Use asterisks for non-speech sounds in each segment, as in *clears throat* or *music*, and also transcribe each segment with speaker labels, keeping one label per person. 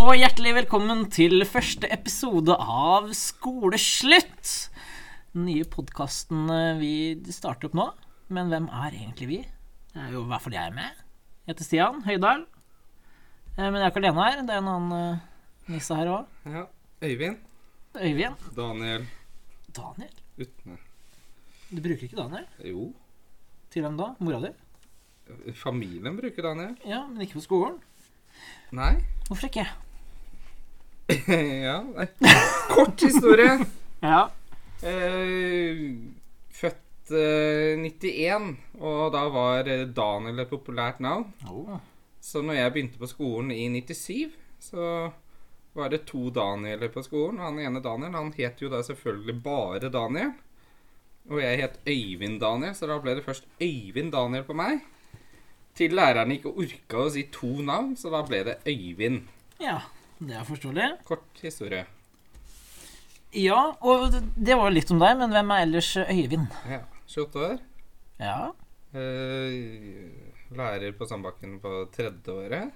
Speaker 1: og hjertelig velkommen til første episode av Skoleslutt. Den nye podkasten vi starter opp nå. Men hvem er egentlig vi? Det er jo i hvert fall jeg med. Jeg heter Stian Høydal. Eh, Men jeg er ikke alene her. Det er en annen eh, nisse her òg.
Speaker 2: Ja. Øyvind.
Speaker 1: Øyvind.
Speaker 2: Daniel
Speaker 1: Daniel?
Speaker 2: Utne.
Speaker 1: Du bruker ikke Daniel?
Speaker 2: Jo,
Speaker 1: Til hvem da? Mora di?
Speaker 2: familien bruker Daniel.
Speaker 1: Ja, men ikke på skolen.
Speaker 2: Nei.
Speaker 1: Hvorfor ikke?
Speaker 2: *laughs* ja, nei. *laughs* Kort historie.
Speaker 1: Ja.
Speaker 2: Eh, født eh, 91, og da var eh, Daniel et populært navn.
Speaker 1: Oh.
Speaker 2: Så når jeg begynte på skolen i 97, så var det to Danieler på skolen. Og han ene Daniel, han het jo da selvfølgelig bare Daniel. Og jeg het Øyvind Daniel, så da ble det først Øyvind Daniel på meg. Til læreren ikke orka å si to navn, så da ble det Øyvind.
Speaker 1: ja. Det er forståelig.
Speaker 2: Kort historie.
Speaker 1: Ja, og det- det var jo litt om deg, men hvem er ellers Øyvind?
Speaker 2: Ja, 28 år.
Speaker 1: Ja,
Speaker 2: Eh, lærer på Sandbakken på tredje året.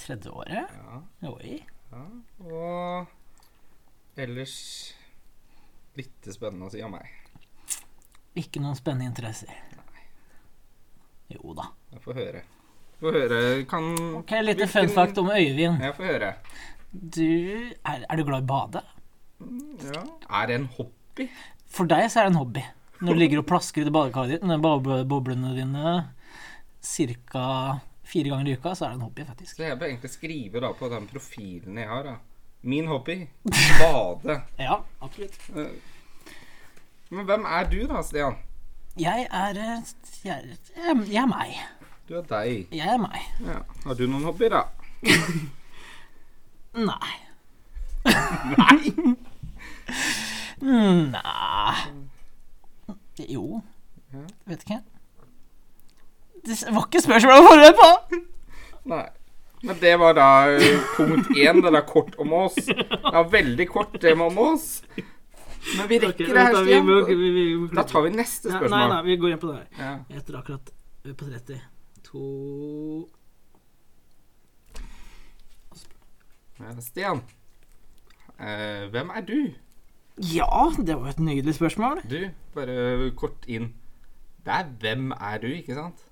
Speaker 1: tredje året.
Speaker 2: Ja,
Speaker 1: Oi.
Speaker 2: ja. Og ellers litt spennende å si om meg.
Speaker 1: Ikke noen spennende interesser. Jo da.
Speaker 2: Jeg får høre. Få høre kan
Speaker 1: Ok, Litt
Speaker 2: Hvilken-
Speaker 1: fun fact om Øyvind.
Speaker 2: Jeg får høre.
Speaker 1: Du, er, er du glad i å bade?
Speaker 2: Ja. Er det en hobby?
Speaker 1: For deg så er det en hobby. Når du ligger og plasker i det badekaret ditt med boble- boblene dine ca. fire ganger i uka, så er det en hobby, faktisk.
Speaker 2: Så jeg bør egentlig skrive da på den profilen jeg har. da. Min hobby bade.
Speaker 1: Ja, absolutt.
Speaker 2: Men hvem er du da, Stian?
Speaker 1: Jeg er eh, Jeg er, eh, jeg er meg.
Speaker 2: Du er deg.
Speaker 1: Jeg er meg.
Speaker 2: Ja. Har du noen hobbyer, da?
Speaker 1: Nei. Nei Nei Jo. Vet ikke. Det var ikke spørsmålet jeg var forberedt på!
Speaker 2: Nei. Men det var da ø, punkt én. Det er kort om oss. Ja, veldig kort det med om oss. Men vi rekker det her, Stian. Da tar vi neste
Speaker 1: Nei,
Speaker 2: spørsmål.
Speaker 1: nei, vi går inn på det her.
Speaker 2: Ja.
Speaker 1: Jeg heter akkurat eh, på 30. To
Speaker 2: Men Stian, eh, hvem er du?
Speaker 1: Ja, det var et nydelig spørsmål.
Speaker 2: Du, bare kort inn. Det er 'Hvem er du?', ikke
Speaker 1: *laughs*
Speaker 2: sant?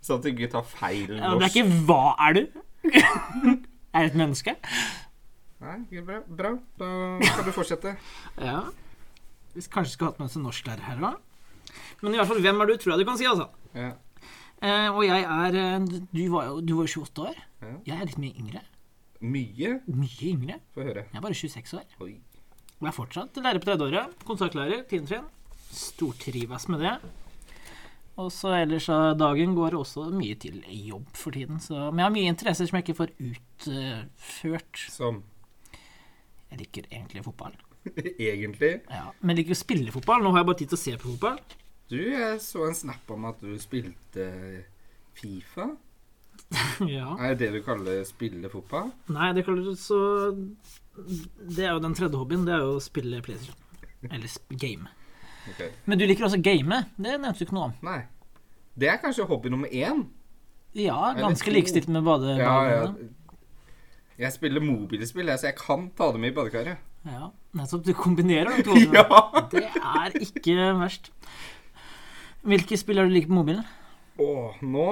Speaker 2: Sånn at du ikke tar feil
Speaker 1: Ja, det er ikke 'hva er du'? *laughs* er det et menneske?
Speaker 2: Nei, ikke bra. bra. Da kan du fortsette.
Speaker 1: Ja. Vi kanskje skulle hatt med oss en norsklærer her òg. Men i hvert fall, hvem er du, tror jeg du kan si, altså.
Speaker 2: Ja.
Speaker 1: Eh, og jeg er eh, Du var jo du var jo 28 år.
Speaker 2: Ja.
Speaker 1: Jeg er litt mye yngre.
Speaker 2: Mye.
Speaker 1: Mye yngre.
Speaker 2: Få høre.
Speaker 1: Jeg er bare 26 år.
Speaker 2: Oi.
Speaker 1: Og jeg er fortsatt lærer på tredjeåret. Kontaktlærer, tiende trinn. Stortrives med det. Og så ellers av dagen går også mye til jobb for tiden. Så, men jeg har mye interesser som jeg ikke får utført.
Speaker 2: Som
Speaker 1: Jeg liker egentlig fotball.
Speaker 2: egentlig
Speaker 1: Ja, men jeg liker å spille fotball. Nå har jeg bare tid til å se på fotball. *laughs*
Speaker 2: Du, jeg så en snap om at du spilte Fifa.
Speaker 1: ja.
Speaker 2: Er det det du kaller spille fotball?
Speaker 1: Nei, det er klart, så Det er jo den tredje hobbyen. Det er jo å spille PlayStation. Eller sp- game.
Speaker 2: Ok.
Speaker 1: Men du liker også game. Det nevnte du ikke noe om.
Speaker 2: Nei. Det er kanskje hobby nummer én.
Speaker 1: Ja,
Speaker 2: Eller
Speaker 1: ganske
Speaker 2: to.
Speaker 1: likestilt med bade...
Speaker 2: Ja, ja.
Speaker 1: badene.
Speaker 2: Jeg spiller mobilspill, jeg, så jeg kan ta dem i badekaret.
Speaker 1: ja. Nettopp. Du kombinerer
Speaker 2: *laughs*
Speaker 1: de to.
Speaker 2: Ja!
Speaker 1: Det er ikke verst. Hvilke spill er du liker på mobilen?
Speaker 2: Og nå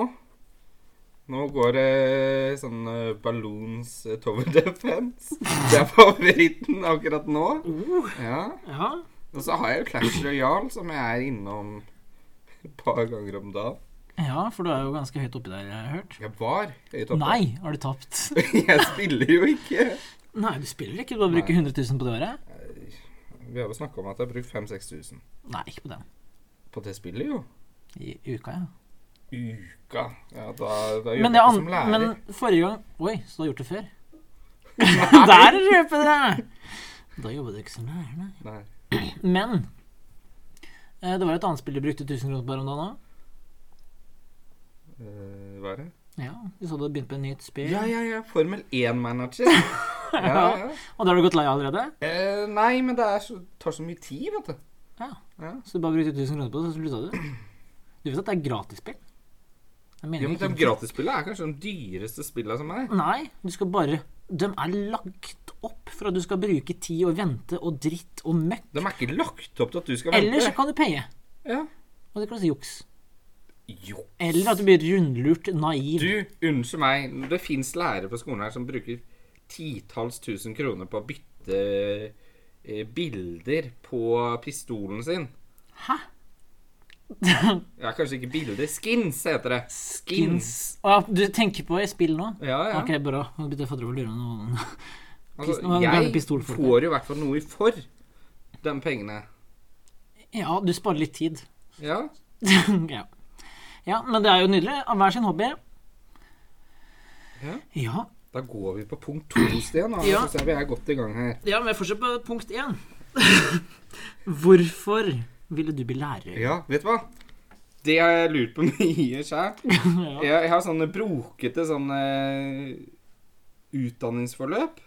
Speaker 2: Nå går det sånn eh, Balloons eh, Tower Defense. Det er favoritten akkurat nå.
Speaker 1: Oh,
Speaker 2: Ja.
Speaker 1: ja.
Speaker 2: Og så har jeg jo Clash Royale, som jeg er innom et par ganger om dagen.
Speaker 1: ja, for du er jo ganske høyt oppi der, har jeg hørt.
Speaker 2: Jeg var høyt oppe.
Speaker 1: Nei, har du tapt?
Speaker 2: *laughs* Jeg spiller jo ikke.
Speaker 1: Nei, du spiller ikke. Du bare bruker 100 000 på det året.
Speaker 2: Vi har jo snakka om at jeg har brukt 5000-6000
Speaker 1: Nei, ikke på den.
Speaker 2: på det spillet, jo.
Speaker 1: I uka, ja.
Speaker 2: Uka. Ja, da, da jobber jeg
Speaker 1: Men, det
Speaker 2: ikke
Speaker 1: an
Speaker 2: som lærer.
Speaker 1: men *laughs* forrige gang Oi, så du har gjort det før? Der røper dere! Da jobba du ikke som lærer, nei.
Speaker 2: Nei.
Speaker 1: Men eh, det var et annet spill du brukte 1000 kroner på her om dagen òg.
Speaker 2: Eh, hva er det?
Speaker 1: Ja, du sa du hadde begynt på et nytt spill,
Speaker 2: Ja, ja, ja. Formel
Speaker 1: *laughs*
Speaker 2: 1-manager. Ja, ja.
Speaker 1: og da har du gått lei allerede?
Speaker 2: Eh, nei, men det er så, tar så mye tid, vet du.
Speaker 1: Ja.
Speaker 2: Ja.
Speaker 1: Så du bare brukte 1000 kroner på det, så slutta du? Du vet at det er gratisspill? Er Jeg mener
Speaker 2: Jo, men
Speaker 1: ikke-
Speaker 2: de gratisspillene er kanskje de dyreste spillene som er.
Speaker 1: Nei, du skal bare De er lagt opp for at du skal bruke tid og vente og dritt og møkk.
Speaker 2: De er ikke lagt opp til at du skal
Speaker 1: Eller så
Speaker 2: vente.
Speaker 1: kan du paye.
Speaker 2: Ja.
Speaker 1: Og det kalles juks.
Speaker 2: Jo.
Speaker 1: Eller at du blir rundlurt, naiv.
Speaker 2: Du, unnskyld meg, det fins lærere på skolen her som bruker titalls tusen kroner på å bytte eh, bilder på pistolen sin.
Speaker 1: Hæ?
Speaker 2: Ja, kanskje ikke bilder. Skins heter det. Skins.
Speaker 1: Å ja, du tenker på i spill nå?
Speaker 2: Ja, ja.
Speaker 1: Ok, bra. Nå begynte jeg å fatte over lurene. noen.
Speaker 2: *laughs* Altså,
Speaker 1: Pistol-
Speaker 2: jeg
Speaker 1: Gamle pistolfolk.
Speaker 2: får jo i hvert fall noe for de pengene.
Speaker 1: Ja, du sparer litt tid.
Speaker 2: Ja.
Speaker 1: *laughs* ja. ja, men det er jo nydelig. Av hver sin hobby.
Speaker 2: Ja.
Speaker 1: Ja,
Speaker 2: Da går vi på punkt to, Stian. Da
Speaker 1: Ja.
Speaker 2: synes jeg vi er godt i gang her.
Speaker 1: ja men jeg fortsetter på punkt én. *laughs* Hvorfor ville du bli lærer?
Speaker 2: Ja, vet du hva? Det har jeg lurt på *laughs* mye sjæl.
Speaker 1: *laughs* Ja.
Speaker 2: Jeg, jeg har sånne brokete sånne eh, utdanningsforløp.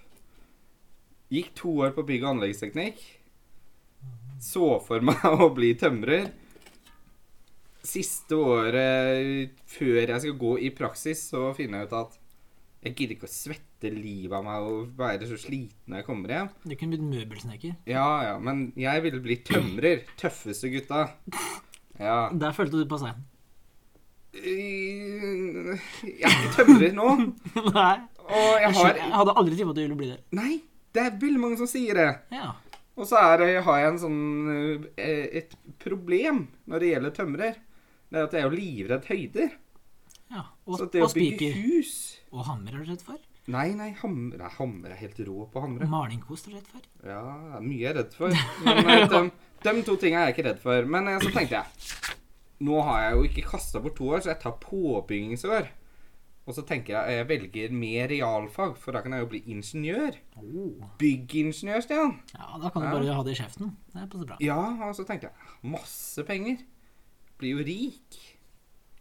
Speaker 2: Gikk to år på bygg- og anleggsteknikk. Så for *laughs* meg å bli tømrer. Siste året før jeg skal gå i praksis, så finner jeg ut at jeg gidder ikke å svette livet av meg og være så sliten når jeg kommer hjem.
Speaker 1: Du kunne blitt møbelsnekker.
Speaker 2: Ja, ja, men jeg ville bli tømrer. Tøffeste gutta. Ja.
Speaker 1: Der følte du på seg. *laughs*
Speaker 2: Øh, Jeg er ikke tømrer nå.
Speaker 1: Nei.
Speaker 2: Og jeg
Speaker 1: Jeg,
Speaker 2: har
Speaker 1: jeg hadde aldri tippa at du ville bli det.
Speaker 2: Nei, det er veldig mange som sier det.
Speaker 1: Ja.
Speaker 2: Og så er, det- har jeg en sånn øh, et problem når det gjelder tømrer. Det er at jeg er jo livredd høyder.
Speaker 1: ja. Og,
Speaker 2: Så det
Speaker 1: og
Speaker 2: å bygge
Speaker 1: spiker.
Speaker 2: hus
Speaker 1: Og hammer er du redd for.
Speaker 2: Nei, nei, hamre, nei, hamre er helt rå på å hamre.
Speaker 1: Malingkost er du redd for.
Speaker 2: Ja, det er mye jeg er redd for. Men de, de to tinga er jeg ikke redd for. Men eh, så tenkte jeg Nå har jeg jo ikke kasta bort to år, så jeg tar påbyggingsår. Og så tenker jeg jeg velger mer realfag, for da kan jeg jo bli ingeniør. Byggingeniør, Stian.
Speaker 1: Ja, da kan du
Speaker 2: Oh. Ja.
Speaker 1: bare ha det i kjeften. Det er passer bra.
Speaker 2: Ja, og så tenkte jeg masse penger. Blir jo rik.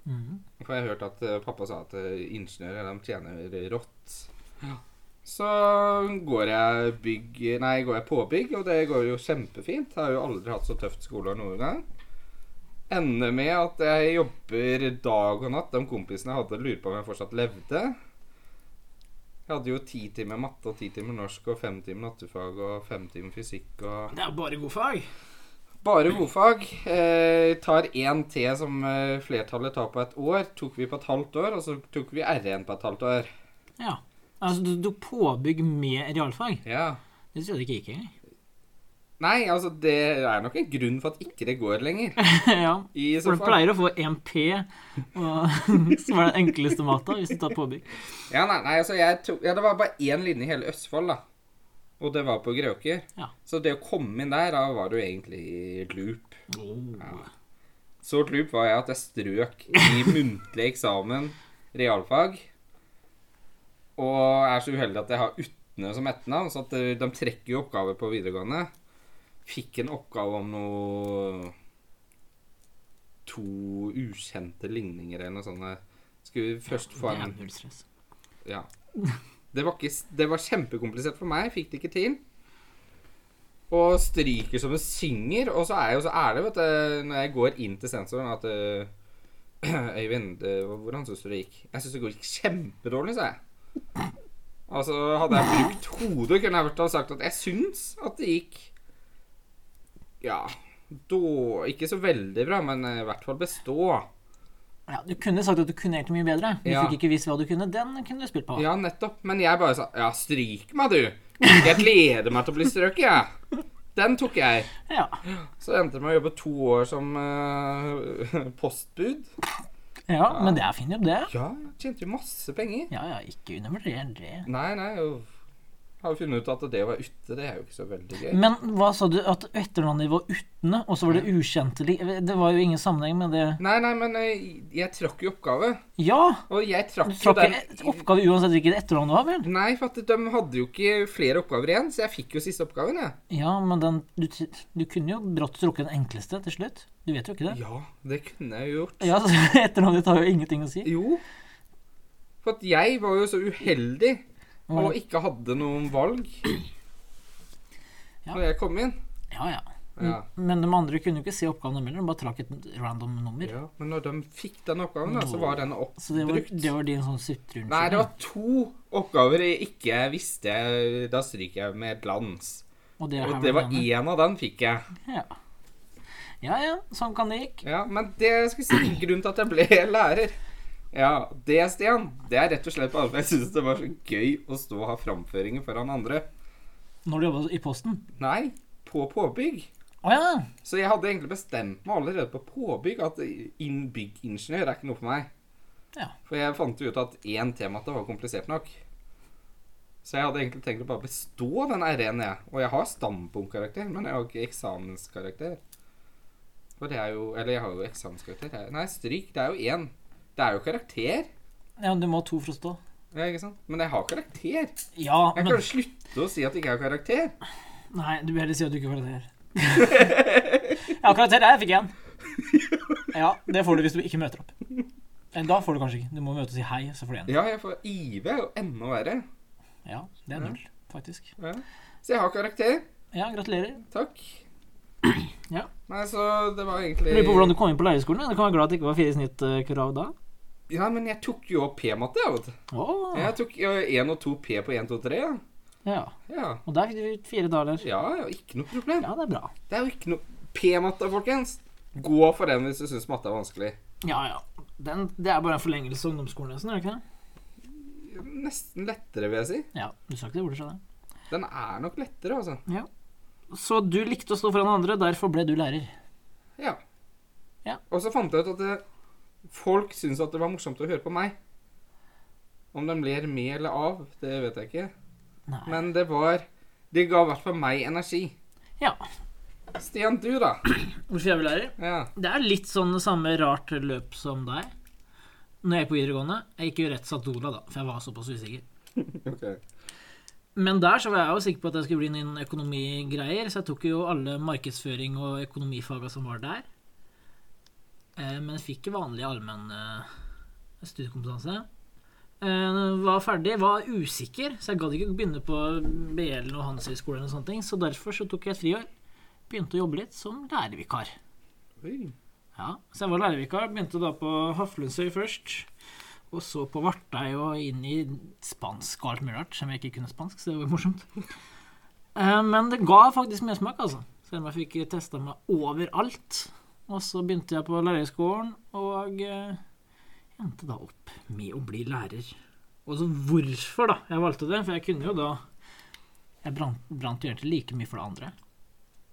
Speaker 1: Mhm.
Speaker 2: For jeg har hørt at eh, pappa sa at eh, ingeniører de tjener rått.
Speaker 1: Ja.
Speaker 2: Så går jeg bygg Nei, går jeg påbygg, og det går jo kjempefint. Jeg har jo aldri hatt så tøft skoleår noen gang. Ender med at jeg jobber dag og natt. De kompisene jeg hadde, lurer på om jeg fortsatt levde. Jeg hadde jo ti timer matte og ti timer norsk og fem timer naturfag og fem timer fysikk og
Speaker 1: Det er bare god fag.
Speaker 2: bare godfag. Eh, tar én T som eh, flertallet tar på et år. Tok vi på et halvt år, og så tok vi R1 på et halvt år.
Speaker 1: Ja. Altså, du, du påbygg med realfag.
Speaker 2: Ja.
Speaker 1: Det trodde jeg ikke gikk engang.
Speaker 2: Nei, altså, det er nok en grunn for at ikke det går lenger.
Speaker 1: *laughs* ja.
Speaker 2: I så
Speaker 1: For du
Speaker 2: fall.
Speaker 1: pleier å få 1 P, og, *laughs* som er den enkleste mata, hvis du tar påbygg.
Speaker 2: Ja, nei, nei, altså, jeg tok, ja, det var bare én linje i hele Østfold, da. Og det var på Greåker.
Speaker 1: Ja.
Speaker 2: Så det å komme inn der, da var det jo egentlig loop.
Speaker 1: Oh.
Speaker 2: Så glup var jeg at jeg strøk i muntlig eksamen realfag. Og er så uheldig at jeg har Utne som etternavn, så at eh, de trekker jo oppgaver på videregående. Fikk en oppgave om noe To ukjente ligninger eller noe sånt. Skulle først få
Speaker 1: Det er
Speaker 2: en
Speaker 1: null stress.
Speaker 2: Ja. Det var, ikke, det var kjempekomplisert for meg. Fikk det ikke til. Og stryker som en synger. Og så er jeg jo så ærlig vet du, når jeg går inn til sensoren at øh, *clears throat* Øyvind, øh, hvordan syns du det gikk? Jeg syns det går kjempedårlig, sa jeg. Altså, hadde jeg brukt hodet, kunne jeg vært og sagt at jeg syns at det gikk Ja då, Ikke så veldig bra, men øh, i hvert fall bestå.
Speaker 1: Ja, du kunne sagt at du kunne helt mye bedre. Du
Speaker 2: Ja.
Speaker 1: fikk ikke visst hva du kunne. Den kunne du spilt på.
Speaker 2: Ja, nettopp. Men jeg bare sa Ja, stryk meg, du. Jeg gleder meg til å bli strøket, jeg. Den tok jeg.
Speaker 1: Ja.
Speaker 2: Så endte jeg med å jobbe to år som eh, postbud.
Speaker 1: ja men det er fin jobb, det.
Speaker 2: Ja, jeg tjente jo masse penger.
Speaker 1: Ja, ja, ikke undervurder det.
Speaker 2: Nei, nei, jo. Jeg har jo funnet ut at det å være ute, det er jo ikke så veldig gøy.
Speaker 1: Men hva sa du at etternavnet var Utne, og så var det ukjente li- Det var jo ingen sammenheng med det
Speaker 2: Nei, nei, men eh, jeg trakk jo oppgave.
Speaker 1: Ja!
Speaker 2: Og jeg
Speaker 1: Du
Speaker 2: trakk jo
Speaker 1: trakk
Speaker 2: den
Speaker 1: ikke oppgave uansett hvilket etternavn du har, vel?
Speaker 2: Nei, for at de hadde jo ikke flere oppgaver igjen, så jeg fikk jo siste oppgaven, jeg.
Speaker 1: Ja, men den Du, du kunne jo brått trukket den enkleste til slutt. Du vet jo ikke det.
Speaker 2: Ja, det kunne jeg jo gjort.
Speaker 1: Ja, så *laughs* etternavnet ditt har jo ingenting å si.
Speaker 2: Jo. For at jeg var jo så uheldig
Speaker 1: Hva da?
Speaker 2: og ikke hadde noen valg
Speaker 1: Ja.
Speaker 2: når jeg kom inn.
Speaker 1: Ja, ja.
Speaker 2: Ja.
Speaker 1: Men de andre kunne jo ikke se oppgavene mellom, de bare trakk et random nummer.
Speaker 2: ja. Men når de fikk den oppgaven, da, så var den
Speaker 1: Så det var,
Speaker 2: oppbrukt.
Speaker 1: det var din sånn sutrunnskyld.
Speaker 2: Nei, det var to oppgaver jeg ikke visste. Da stryker jeg med et glans.
Speaker 1: Og det, her
Speaker 2: Og
Speaker 1: var
Speaker 2: det var
Speaker 1: denne.
Speaker 2: én av den fikk jeg.
Speaker 1: Ja. ja ja, sånn kan det gikk.
Speaker 2: Ja, men det jeg skulle si grunnen til at jeg ble *laughs* lærer. Ja, det, Stian, det er rett og slett bare fordi jeg syns det var så gøy å stå og ha framføringer foran andre.
Speaker 1: Når du jobba i Posten.
Speaker 2: Nei, på påbygg.
Speaker 1: Å ja!
Speaker 2: Så jeg hadde egentlig bestemt meg allerede på påbygg at innbyggingeniør er ikke noe for meg.
Speaker 1: Ja.
Speaker 2: For jeg fant jo ut at én tema at det var komplisert nok. Så jeg hadde egentlig tenkt å bare bestå den R1, jeg. Og jeg har standpunktkarakter, men jeg har ikke eksamenskarakter. For det er jo Eller jeg har jo eksamenskarakter. Jeg- Nei, stryk. Det er jo én. Det er jo karakter.
Speaker 1: ja, du må ha to for å stå.
Speaker 2: Ja, ikke sant? Men jeg har karakter.
Speaker 1: Ja, men
Speaker 2: Jeg kan jo slutte å si at jeg ikke har karakter.
Speaker 1: Nei, du vil heller si at du ikke får karakter. *laughs* ja, karakter der fikk jeg en.
Speaker 2: *laughs*
Speaker 1: Ja, det får du hvis du ikke møter opp. Eh, Da får du kanskje ikke. Du må møte og si hei, så får du en.
Speaker 2: Ja, jeg får IV er jo enda verre.
Speaker 1: Ja, det er null, faktisk.
Speaker 2: Ja. Så jeg har karakter.
Speaker 1: Ja, gratulerer.
Speaker 2: Takk.
Speaker 1: *clears throat* Ja.
Speaker 2: Nei, så det var egentlig
Speaker 1: Lurer på hvordan du kom inn på leirskolen. ja. Du kan være glad at det ikke var fire snittkrav da.
Speaker 2: Ja, men jeg tok jo opp P-matte, jeg, vet du.
Speaker 1: Åh,
Speaker 2: Jeg tok 1 og 2 P på 1, 2, 3. Ja.
Speaker 1: ja.
Speaker 2: Ja,
Speaker 1: Og der fikk du fire daler.
Speaker 2: ja, ja, ikke noe problem.
Speaker 1: Ja, det er bra.
Speaker 2: Det er jo ikke noe P-matte, folkens. Gå for den hvis du syns matte er vanskelig.
Speaker 1: Ja, ja. Den, det er bare en forlengelse av ungdomsskolen, nesten, er det ikke det?
Speaker 2: Nesten lettere, vil jeg si.
Speaker 1: Ja, du sa ikke det ordet, skjønner jeg.
Speaker 2: Den er nok lettere, altså.
Speaker 1: Så du likte å stå foran andre, derfor ble du lærer.
Speaker 2: Ja.
Speaker 1: Ja.
Speaker 2: Og så fant jeg ut at det, folk syntes at det var morsomt å høre på meg. Om de ler med eller av, det vet jeg ikke.
Speaker 1: Nei.
Speaker 2: Men det var Det ga i hvert fall meg energi.
Speaker 1: Ja.
Speaker 2: Stian, du, da?
Speaker 1: Hvorfor jeg ble lærer?
Speaker 2: Ja.
Speaker 1: Det er litt sånn det samme rart løp som deg. Når jeg gikk på videregående Jeg gikk jo rett Satola, da, for jeg var såpass usikker.
Speaker 2: Ok.
Speaker 1: Men der så var jeg jo sikker på at jeg skulle bli innen økonomigreier, så jeg tok jo alle markedsføring og økonomifaga som var der. Eh, Men fikk vanlig allmenn eh, studiekompetanse. Eh, Var ferdig, var usikker, så jeg gadd ikke begynne på BL og Handelshøyskolen og sånne ting. Så derfor så tok jeg et friår. Begynte å jobbe litt som lærervikar.
Speaker 2: Oi.
Speaker 1: Ja, så jeg var lærervikar. Begynte da på Haflundsøy først. Og så på Vartei og inn i spansk og alt mulig rart, selv om jeg ikke kunne spansk. Så det var morsomt. Eh, Men det ga faktisk mersmak, altså. Selv om jeg fikk testa meg overalt. Og så begynte jeg på lærerskolen og eh, endte da opp med å bli lærer. Og så hvorfor, da? Jeg valgte det, for jeg kunne jo da Jeg brant, brant jo egentlig like mye for det andre.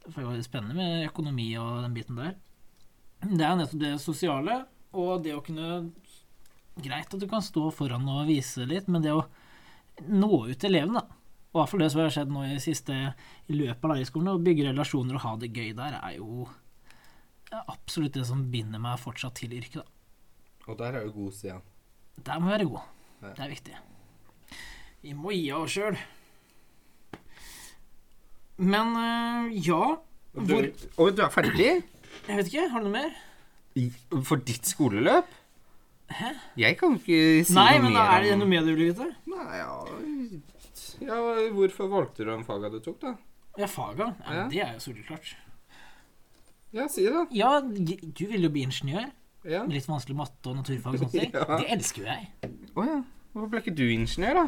Speaker 1: For det var jo spennende med økonomi og den biten der. Det er jo nettopp det sosiale, og det å kunne Greit at du kan stå foran og vise litt, men det å nå ut til elevene, da. Og i hvert fall det som har skjedd nå i siste i løpet av lærerskolen, å bygge relasjoner og ha det gøy der, er jo er absolutt det som binder meg fortsatt til yrket, da.
Speaker 2: Og der er jo god, Stian.
Speaker 1: Der må vi være gode.
Speaker 2: Ja.
Speaker 1: Det er viktig. Vi må gi av oss sjøl. Men øh, ja
Speaker 2: Og du,
Speaker 1: Hvor-
Speaker 2: og du er ferdig?
Speaker 1: Jeg vet ikke, har du noe mer?
Speaker 2: For ditt skoleløp? Hæ? Jeg kan ikke si
Speaker 1: Nei,
Speaker 2: noe
Speaker 1: men
Speaker 2: mer
Speaker 1: da er det noe mer du vil vite?
Speaker 2: om Nei, ja. ja Hvorfor valgte du de faga du tok, da?
Speaker 1: Ja, faga. Ja, men
Speaker 2: Ja.
Speaker 1: Det er jo soleklart.
Speaker 2: Ja, si det.
Speaker 1: Ja, j- du ville jo bli ingeniør.
Speaker 2: Ja. Å
Speaker 1: Litt vanskelig matte og naturfag og sånne ting.
Speaker 2: *laughs* Ja.
Speaker 1: Det elsker jo jeg.
Speaker 2: ja. Hvorfor ble ikke du ingeniør, da?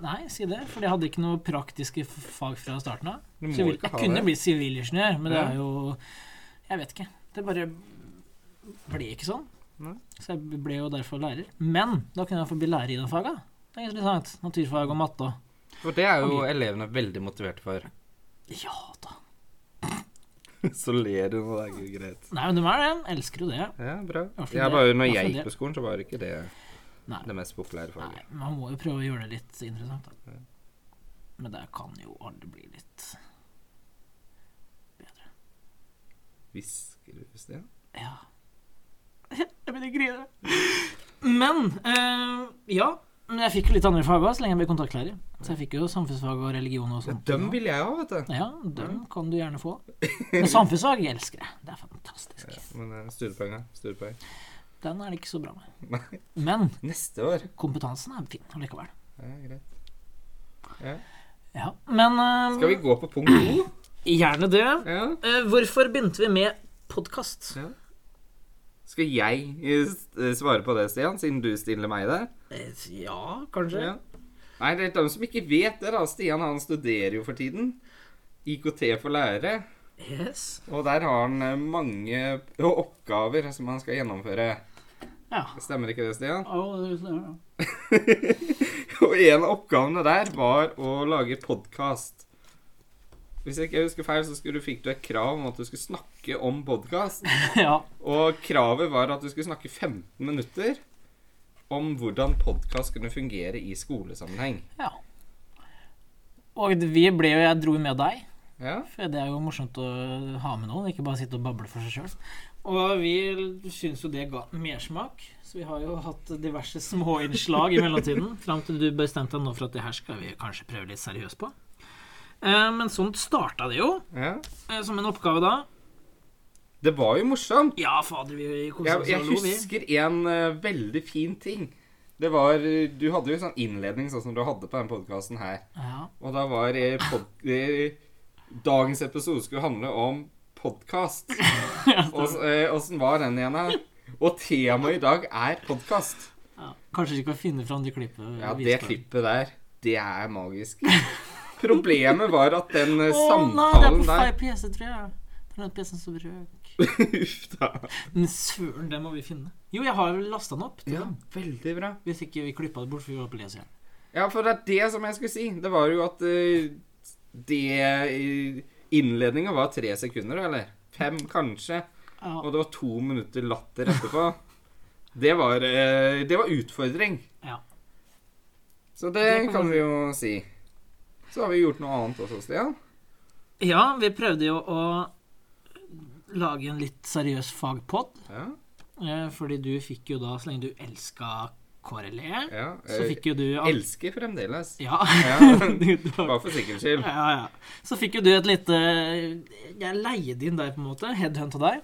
Speaker 1: Nei, si det. For jeg hadde ikke noe praktiske f- fag fra starten av.
Speaker 2: Du må
Speaker 1: Så jeg, vil,
Speaker 2: ikke
Speaker 1: jeg
Speaker 2: ha
Speaker 1: kunne
Speaker 2: det.
Speaker 1: blitt sivilingeniør, men det
Speaker 2: Ja.
Speaker 1: er jo Jeg vet ikke. Det bare ble ikke sånn.
Speaker 2: Nei.
Speaker 1: Så jeg ble jo derfor lærer. Men da kunne jeg få bli lærer i de faga. Det er interessant. Naturfag og matte og
Speaker 2: For det er jo
Speaker 1: Ok.
Speaker 2: elevene veldig motiverte for.
Speaker 1: Ja da.
Speaker 2: *laughs* Så ler du nå, det er ikke greit.
Speaker 1: Nei, men de er det. Jeg elsker jo det.
Speaker 2: Ja, bra.
Speaker 1: Hvorfor
Speaker 2: Jeg
Speaker 1: det?
Speaker 2: bare, når
Speaker 1: Hvorfor
Speaker 2: jeg
Speaker 1: det?
Speaker 2: gikk på skolen, så var ikke det
Speaker 1: Nei.
Speaker 2: det mest populære faget.
Speaker 1: Nei, man må jo prøve å gjøre det litt interessant, da. Men det kan jo aldri bli litt bedre.
Speaker 2: Hvisker du, Stian?
Speaker 1: Ja. *laughs* Jeg begynner å grine. Men eh, ja. Men jeg fikk jo litt andre fag også, så lenge jeg ble kontaktlærer. Så jeg fikk jo samfunnsfag og religion og sånt.
Speaker 2: Dem vil jeg ha, vet du.
Speaker 1: Ja, dem kan du gjerne få.
Speaker 2: *laughs*
Speaker 1: Men samfunnsfag elsker jeg. Det er fantastisk.
Speaker 2: Men eh, studiepoeng, ja. Studiepoeng.
Speaker 1: Den er det ikke så bra med.
Speaker 2: Nei.
Speaker 1: Men
Speaker 2: Neste år.
Speaker 1: kompetansen er fin allikevel.
Speaker 2: Ja, greit.
Speaker 1: Ja, men eh,
Speaker 2: Skal vi gå på punkt to?
Speaker 1: Gjerne det.
Speaker 2: Ja.
Speaker 1: Eh, Hvorfor begynte vi med podkast?
Speaker 2: Ja. Skal jeg eh, s- eh, svare på det, Stian, siden du stiller meg det?
Speaker 1: Eh, Ja, kanskje.
Speaker 2: Ja. Nei, det er de som ikke vet det, da. Stian han studerer jo for tiden. IKT for lærere.
Speaker 1: Yes.
Speaker 2: Og der har han eh, mange p- oppgaver som han skal gjennomføre.
Speaker 1: Ja.
Speaker 2: Stemmer ikke det, Stian?
Speaker 1: Å, ja.
Speaker 2: *laughs* Og en av oppgavene der var å lage podkast. Hvis jeg ikke husker feil, så skulle du, fikk du et krav om at du skulle snakke om podkast.
Speaker 1: ja.
Speaker 2: Og kravet var at du skulle snakke 15 minutter om hvordan podkast kunne fungere i skolesammenheng.
Speaker 1: ja. Og vi ble jo Jeg dro jo med deg.
Speaker 2: Ja,
Speaker 1: For det er jo morsomt å ha med noen, ikke bare sitte og bable for seg sjøl. Og vi syns jo det ga mersmak, så vi har jo hatt diverse småinnslag i mellomtiden. Fram til du bestemte deg nå for at det her skal vi kanskje prøve litt seriøst på. Eh, Men sånn starta det jo,
Speaker 2: ja.
Speaker 1: eh, som en oppgave da.
Speaker 2: Det var jo morsomt.
Speaker 1: Ja, fader, vi koste
Speaker 2: Jeg,
Speaker 1: oss
Speaker 2: jeg
Speaker 1: og lo, vi.
Speaker 2: husker en eh, veldig fin ting. Det var eh, Du hadde jo en sånn innledning sånn som du hadde på denne podkasten her.
Speaker 1: Ja.
Speaker 2: Og da var eh, pod eh, Dagens episode skulle handle om
Speaker 1: *laughs*
Speaker 2: podkast. eh, Åssen var den igjen, da? Og temaet i dag er podkast.
Speaker 1: Ja. Kanskje vi skal finne fram de klippene.
Speaker 2: Ja,
Speaker 1: vi
Speaker 2: det
Speaker 1: skal-
Speaker 2: klippet der, det er magisk. Problemet var at den eh,
Speaker 1: *laughs* Å nei, det er
Speaker 2: samtalen
Speaker 1: på feil
Speaker 2: der
Speaker 1: PC, tror jeg. Det er den PC-en som røk.
Speaker 2: *laughs* Uff da.
Speaker 1: Men søren, det må vi finne. Jo, jeg har lasta den opp. til
Speaker 2: Ja,
Speaker 1: den.
Speaker 2: veldig bra.
Speaker 1: Hvis ikke vi klippa det bort, for vi var på leseren.
Speaker 2: Ja, for det er det som jeg skulle si. Det var jo at eh, det Innledninga var tre sekunder, eller? Fem, kanskje.
Speaker 1: Ja.
Speaker 2: Og det var to minutter latter etterpå. Det var, eh, det var utfordring.
Speaker 1: ja.
Speaker 2: Så
Speaker 1: Det
Speaker 2: det
Speaker 1: kan
Speaker 2: kan
Speaker 1: man
Speaker 2: vi jo si. Så har vi gjort noe annet også, Stian.
Speaker 1: ja, vi prøvde jo å lage en litt seriøs fagpod,
Speaker 2: Ja,
Speaker 1: eh, fordi du fikk jo da, så lenge du elska KRLE,
Speaker 2: ja.
Speaker 1: E, så
Speaker 2: eh,
Speaker 1: fikk jo du al-
Speaker 2: Elsker fremdeles.
Speaker 1: Ja.
Speaker 2: Ja.
Speaker 1: *laughs* Du- du har-
Speaker 2: Bare for sikkerhets skyld.
Speaker 1: Ja, ja. Så fikk jo du et lite Jeg leide inn deg, på en måte. Headhunta deg.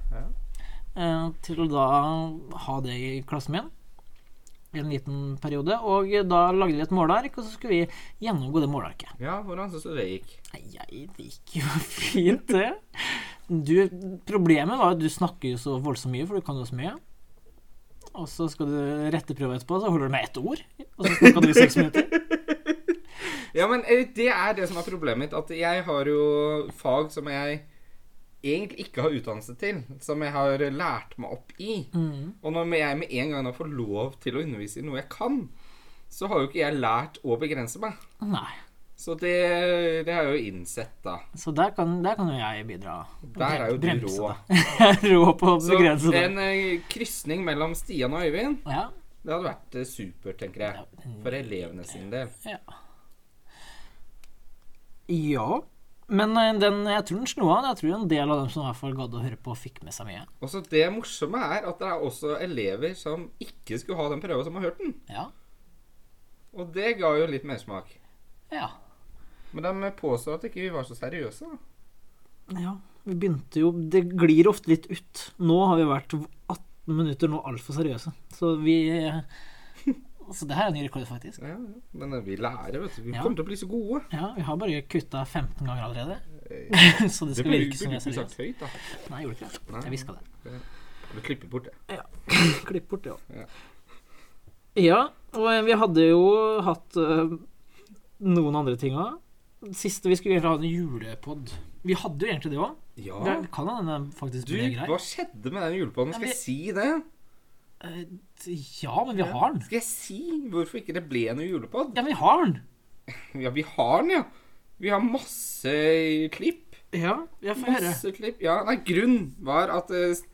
Speaker 1: eh, Til å da ha det i klassen min en liten periode. Og da lagde vi et målark, og så skulle vi gjennomgå det målarket.
Speaker 2: Ja, hvordan syns du det gikk?
Speaker 1: Nei, Jeg, det gikk jo *laughs* fint, det. Du, problemet var at du snakker jo så voldsomt mye, for du kan jo så mye. Og så skal du rette prøve etterpå, så holder du med ett ord. Og så snakka du i seks minutter.
Speaker 2: Ja, men eh, det er det som er problemet mitt. At jeg har jo fag som jeg egentlig ikke har utdannelse til. Som jeg har lært meg opp i.
Speaker 1: Mm,
Speaker 2: Og når jeg med en gang da får lov til å undervise i noe jeg kan, så har jo ikke jeg lært å begrense meg.
Speaker 1: Nei.
Speaker 2: Så det, det har jeg jo innsett, da.
Speaker 1: Så der kan, der kan jo jeg bidra. Og
Speaker 2: Der er jo du
Speaker 1: bremse,
Speaker 2: rå.
Speaker 1: da. *laughs* Jeg er rå på å
Speaker 2: Så
Speaker 1: begrense det.
Speaker 2: en eh, krysning mellom Stian og Øyvind,
Speaker 1: Ja,
Speaker 2: det hadde vært eh, supert, tenker jeg. For elevene sin del.
Speaker 1: ja. ja. Men eh, den, jeg tror den slo an. Jeg tror en del av dem som i hvert fall gadd å høre på, fikk med seg mye.
Speaker 2: Og så det morsomme er at det er også elever som ikke skulle ha den prøva, som har hørt den.
Speaker 1: Ja.
Speaker 2: Og det ga jo litt mersmak.
Speaker 1: ja.
Speaker 2: Men de påstår at ikke vi var så seriøse. da.
Speaker 1: Ja, vi begynte jo Det glir ofte litt ut. Nå har vi vært 18 minutter nå altfor seriøse. Så vi eh, *laughs* Så det her er en ny rekord, faktisk.
Speaker 2: Ja, ja. Men eh, vi lærer, vet du. Vi
Speaker 1: Ja.
Speaker 2: kommer til å bli så gode.
Speaker 1: Ja, vi har bare kutta 15 ganger allerede. *laughs* Så det
Speaker 2: Eh, Det
Speaker 1: skal
Speaker 2: burde
Speaker 1: virke som vi er
Speaker 2: burde ikke sagt
Speaker 1: seriøse.
Speaker 2: høyt, da.
Speaker 1: Nei, jeg gjorde ikke det.
Speaker 2: Nei.
Speaker 1: Jeg hviska det.
Speaker 2: Vi klipper bort det.
Speaker 1: *laughs* Klipp bort det òg.
Speaker 2: Ja.
Speaker 1: Ja, og eh, vi hadde jo hatt eh, noen andre ting òg. Siste vi skulle egentlig ha en julepod. Vi hadde jo egentlig det òg.
Speaker 2: Ja.
Speaker 1: Kan hende den faktisk
Speaker 2: Du,
Speaker 1: ble grei.
Speaker 2: hva skjedde med den julepoden?
Speaker 1: Ja,
Speaker 2: Skal
Speaker 1: vi-
Speaker 2: jeg si det?
Speaker 1: Eh, Ja, men vi har den.
Speaker 2: Skal jeg si hvorfor ikke det ble noe julepod?
Speaker 1: Ja, men vi har den.
Speaker 2: Ja, vi har den, ja. Vi har masse klipp.
Speaker 1: Ja, jeg får høre.
Speaker 2: Masse klipp. Ja, nei, grunnen var at eh, s-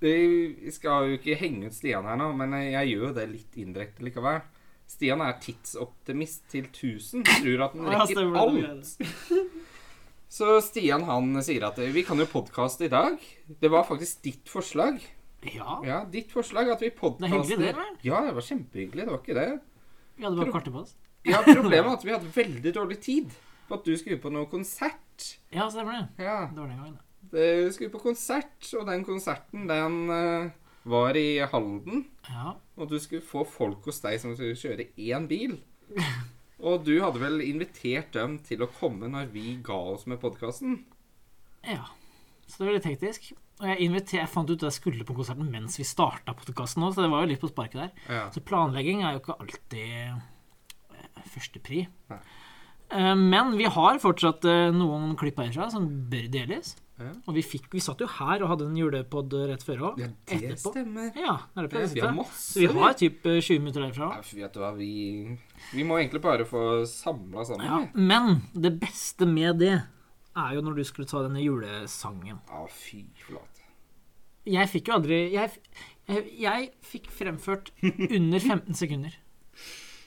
Speaker 2: eh, Jeg skal jo ikke henge ut Stian her nå, men eh, jeg gjør jo det litt indirekte likevel. Stian er tidsoptimist til 1000. Tror at han
Speaker 1: Ja,
Speaker 2: rekker
Speaker 1: stemmer det, du
Speaker 2: alt. Så Stian han sier at eh, vi kan jo podkaste i dag. Det var faktisk ditt forslag.
Speaker 1: Ja.
Speaker 2: Ja, ditt forslag at vi podkaster.
Speaker 1: Det er hyggelig det, eller?
Speaker 2: Ja, det var kjempehyggelig. Det var ikke det.
Speaker 1: Vi hadde bare kartet på oss.
Speaker 2: Ja, problemet er at vi hadde veldig dårlig tid på at du skulle på noe konsert.
Speaker 1: Ja, stemmer det.
Speaker 2: Ja,
Speaker 1: Det var den gangen. da.
Speaker 2: du skulle på konsert, og den konserten, den eh, var i Halden.
Speaker 1: Ja.
Speaker 2: Og du skulle få folk hos deg som skulle kjøre én bil.
Speaker 1: *laughs*
Speaker 2: Og du hadde vel invitert dem til å komme når vi ga oss med podkasten.
Speaker 1: Ja. Så det er veldig teknisk. Og jeg, inviter- jeg fant ut at jeg skulle på konserten mens vi starta podkasten òg, så det var jo litt på sparket der.
Speaker 2: Ja.
Speaker 1: Så planlegging er jo ikke alltid eh, førstepri.
Speaker 2: Nei.
Speaker 1: Eh, Men vi har fortsatt eh, noen klipp herfra som bør deles.
Speaker 2: Ja.
Speaker 1: Og vi, fikk, vi satt jo her og hadde en julepod rett før òg.
Speaker 2: Ja, det stemmer.
Speaker 1: Ja, det er derfor jeg
Speaker 2: Vi har
Speaker 1: sitter.
Speaker 2: masse,
Speaker 1: Så vi har typ eh, 20 minutter herfra.
Speaker 2: Ja, vet du hva, vi, vi må egentlig bare få samla sammen.
Speaker 1: Ja,
Speaker 2: Ja.
Speaker 1: men det beste med det er jo når du skulle ta denne julesangen.
Speaker 2: ja, fy flate.
Speaker 1: Jeg fikk jo aldri Jeg, jeg, jeg fikk fremført under 15 sekunder.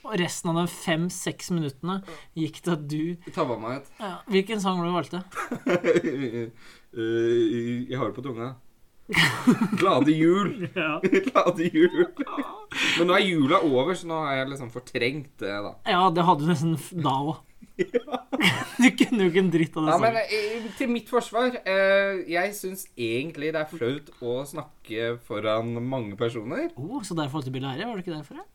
Speaker 1: Og resten av de fem-seks minuttene gikk til at du
Speaker 2: Tabba meg *laughs* et
Speaker 1: ja, Hvilken sang var det du valgte?
Speaker 2: Eh, Jeg har det på tunga. Glade jul! *laughs*
Speaker 1: Ja.
Speaker 2: Glade jul! Men nå er jula over, så nå har jeg liksom fortrengt det, da.
Speaker 1: Ja, det hadde du nesten f- da òg. *laughs* Du kunne jo ikke en dritt av det.
Speaker 2: Ja, men
Speaker 1: sangen.
Speaker 2: eh, til mitt forsvar eh, Jeg syns egentlig det er flaut å snakke foran mange personer.
Speaker 1: oh, så derfor valgte du Bill Herre? Var det ikke derfor? ja?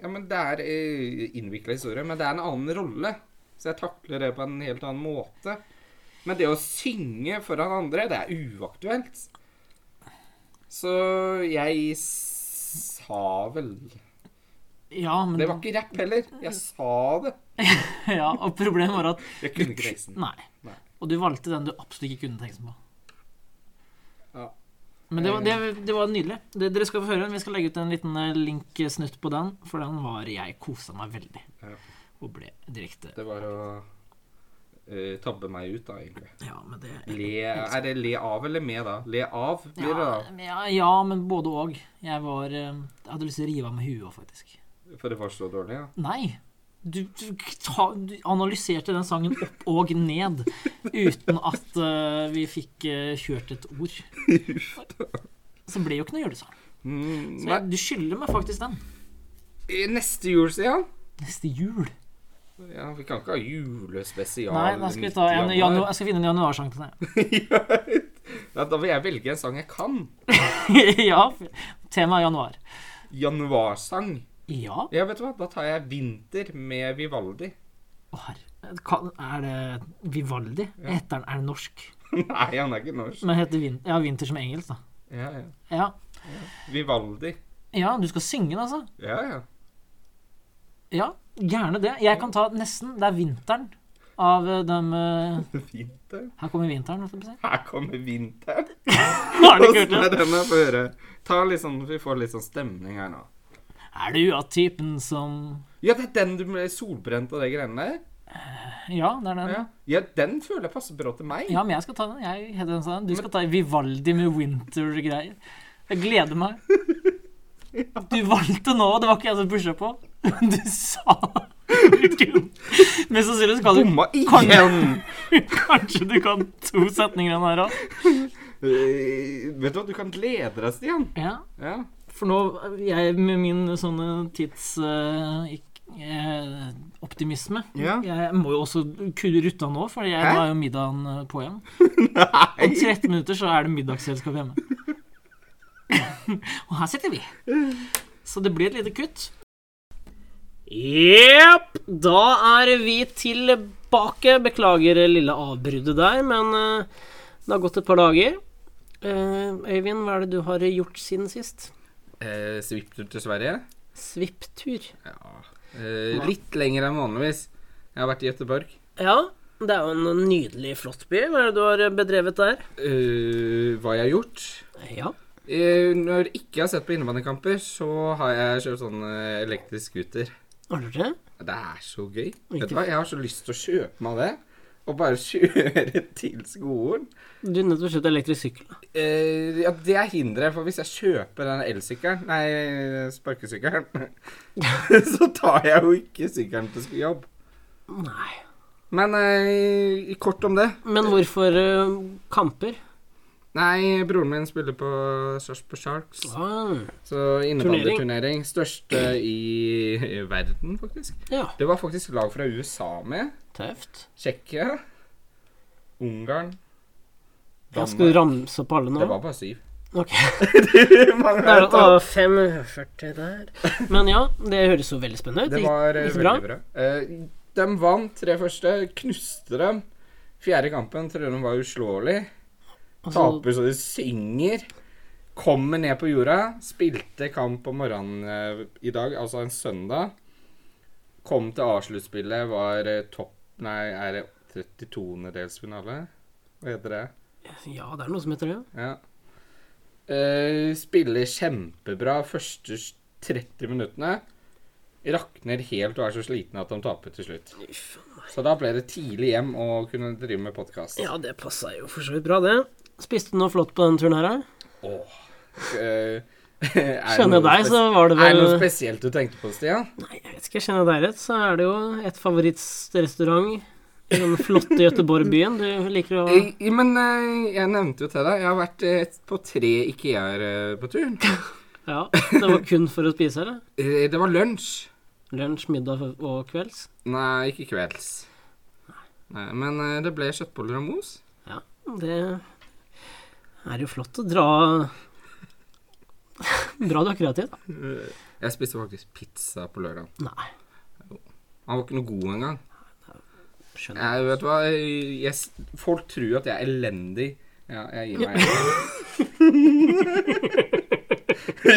Speaker 2: Ja, men Det er eh, innvikla historie, men det er en annen rolle. Så jeg takler det på en helt annen måte. Men det å synge foran andre, det er uaktuelt. Så jeg sa vel
Speaker 1: Ja, men
Speaker 2: Det var ikke rapp heller. Jeg sa det.
Speaker 1: *laughs* ja, Og problemet var at
Speaker 2: Jeg kunne ikke teksten.
Speaker 1: Nei.
Speaker 2: Nei.
Speaker 1: Og du valgte den du absolutt ikke kunne teksten på.
Speaker 2: Ja.
Speaker 1: Men det var, det, det var nydelig. Det, dere skal få høre den. Vi skal legge ut en liten eh, link-snutt på den, for den var Jeg kosa meg veldig.
Speaker 2: Ja.
Speaker 1: Og ble direkte
Speaker 2: Det var å eh, tabbe meg ut, da, egentlig.
Speaker 1: Ja, men det
Speaker 2: Le, er det le av eller med, da? Le av blir det,
Speaker 1: ja,
Speaker 2: da.
Speaker 1: men- ja, ja, men både òg. Jeg var eh, Jeg hadde lyst til å rive av meg huet òg, faktisk.
Speaker 2: For det var så dårlig, ja.
Speaker 1: Nei. Du, du, ta, du analyserte den sangen opp og ned uten at eh, vi fikk eh, kjørt et ord. Så ble jo ikke noe julesang.
Speaker 2: Mm,
Speaker 1: Så
Speaker 2: nei,
Speaker 1: jeg, du skylder meg faktisk den.
Speaker 2: i neste jul, sier han.
Speaker 1: Neste jul.
Speaker 2: Ja, Vi kan ikke ha julespesial
Speaker 1: Nei, da skal vi ta en
Speaker 2: 90.
Speaker 1: janu jeg skal finne en januarsang til deg.
Speaker 2: *laughs* Ja, da vil jeg velge en sang jeg kan.
Speaker 1: *laughs* ja. Temaet er januar.
Speaker 2: Januarsang.
Speaker 1: Ja.
Speaker 2: Ja, vet du hva? Da tar jeg 'Vinter' med Vivaldi. *laughs*
Speaker 1: Å, herre. Kan- Er det Vivaldi? Heter den Er det norsk?
Speaker 2: Nei, han er ikke norsk.
Speaker 1: Men heter vin, ja, Vinter som engelsk, da.
Speaker 2: Ja, ja.
Speaker 1: Ja.
Speaker 2: Vivaldi.
Speaker 1: ja, du skal synge den, altså?
Speaker 2: Ja, ja. *laughs*
Speaker 1: Ja, gjerne det. Jeg kan ta nesten. Det er vinteren av eh, dem eh,
Speaker 2: Vinter.
Speaker 1: Her kommer vinteren, holdt jeg på å si.
Speaker 2: Her kommer vinteren.
Speaker 1: Har du ikke hørt
Speaker 2: Åssen er
Speaker 1: det?
Speaker 2: den jeg får høre? Ta litt sånn, Vi får litt sånn stemning her nå.
Speaker 1: Er du av typen som
Speaker 2: Ja, det er den du ble solbrent av de greiene der?
Speaker 1: Ja, det er den.
Speaker 2: Ja. ja, den føler jeg passer bra til meg.
Speaker 1: Ja, men jeg skal ta den. Jeg heter den sånn. Du skal ta Vivaldi med winter-greier. Jeg gleder meg. Du valgte nå, det var ikke jeg som pusha på. *laughs* Du sa du kunne. Mest sannsynlig så kan du
Speaker 2: Bomma igjen!
Speaker 1: *laughs*
Speaker 2: *laughs*
Speaker 1: Kanskje du kan to setninger av den her òg.
Speaker 2: Eh, vet du hva, du kan glede deg, Stian.
Speaker 1: Ja.
Speaker 2: Ja.
Speaker 1: For nå, jeg med min sånne eh, tidsoptimisme
Speaker 2: Ja.
Speaker 1: eh, Jeg må jo også kulle ruta nå, for jeg
Speaker 2: Hæ?
Speaker 1: har jo middagen eh, på igjen.
Speaker 2: *laughs*
Speaker 1: Om 13 minutter så er det middagsselskap hjemme. *laughs* Og her sitter vi. Så det blir et lite kutt. Jepp. Da er vi tilbake. Beklager det lille avbruddet der, men eh, det har gått et par dager. Eh, Øyvind, hva er det du har gjort siden sist?
Speaker 2: Eh, Svipptur til Sverige?
Speaker 1: Svipptur.
Speaker 2: Ja. Eh, litt lenger enn vanligvis. Jeg har vært i Göteborg.
Speaker 1: Ja, det er jo en nydelig, flott by. Hva er det du har bedrevet der?
Speaker 2: Eh, hva jeg har gjort?
Speaker 1: Ja.
Speaker 2: Eh, når jeg ikke har sett på innebandykamper, så har jeg kjørt sånn eh, elektrisk scooter.
Speaker 1: Har du det?
Speaker 2: Det er så gøy.
Speaker 1: Ikke-
Speaker 2: Vet du hva, Jeg har så lyst til å kjøpe meg det. Og bare *laughs* kjøre til skolen.
Speaker 1: Du er nødt til å kjøpe elektrisk sykkel. da.
Speaker 2: Eh, ja, det er hinderet, for hvis jeg kjøper den elsykkelen Nei, *laughs* sparkesykkelen. så tar jeg jo ikke sykkelen til sk- jobb.
Speaker 1: Nei.
Speaker 2: Men eh, kort om det.
Speaker 1: Men hvorfor eh, kamper?
Speaker 2: Nei, broren min spiller på Sarpsborg Sharks.
Speaker 1: Ah,
Speaker 2: Så innebandyturnering. Største i verden, faktisk.
Speaker 1: ja,
Speaker 2: Det var faktisk lag fra USA med.
Speaker 1: tøft.
Speaker 2: Tsjekkia. Ungarn.
Speaker 1: Jeg skulle ramse opp alle
Speaker 2: Det
Speaker 1: nå.
Speaker 2: var bare
Speaker 1: *laughs*
Speaker 2: syv.
Speaker 1: Ok,
Speaker 2: Mange
Speaker 1: Da er
Speaker 2: vet
Speaker 1: det
Speaker 2: at-
Speaker 1: ah, 540 der. Men ja, det høres jo veldig spennende ut.
Speaker 2: Det var eh,
Speaker 1: Gikk det
Speaker 2: veldig bra. Eh, de vant tre første, knuste dem. Fjerde kampen tror de var uslåelig.
Speaker 1: Altså,
Speaker 2: Taper så det synger. Kommer ned på jorda. Spilte kamp om morgenen eh, i dag, altså en søndag. Kom til A-sluttspillet, var eh, topp Nei, er det 32.-delsfinale? Hva heter det?
Speaker 1: ja, det er noe som heter det.
Speaker 2: Ja. Eh, spiller kjempebra første s- 30 minuttene. Rakner helt og er så sliten at de taper til slutt.
Speaker 1: Uff.
Speaker 2: Så da ble det tidlig hjem å kunne drive med podkast.
Speaker 1: Ja, det passa jo for så vidt bra, det. Spiste du noe flott på den turen her, da?
Speaker 2: Åh. Eh, *laughs* er det
Speaker 1: Skjønner
Speaker 2: noe
Speaker 1: deg,
Speaker 2: spes-
Speaker 1: så var det
Speaker 2: Er det
Speaker 1: vel
Speaker 2: noe spesielt du tenkte på, Stian?
Speaker 1: Nei, jeg vet ikke, kjenner jeg deg rett, så er det jo et favorittrestaurant i den flotte Göteborg-byen. Du liker å
Speaker 2: Eh, men eh, jeg nevnte jo til deg, jeg har vært eh, på tre IKEA-er eh, på turen.
Speaker 1: Ja, det var kun for å spise, eller?
Speaker 2: Eh, det var lunsj.
Speaker 1: Lunsj, middag og kvelds?
Speaker 2: Nei, ikke kvelds. Nei, men eh, det ble kjøttboller og mos.
Speaker 1: Ja, det er jo flott å dra Bra du er kreativ, da.
Speaker 2: Jeg spiste faktisk pizza på lørdag.
Speaker 1: Nei,
Speaker 2: Han var ikke noe god engang.
Speaker 1: skjønner.
Speaker 2: Jeg vet du hva, jeg, s- folk tror at jeg er elendig. Ja, jeg
Speaker 1: *laughs*
Speaker 2: gir meg. *laughs*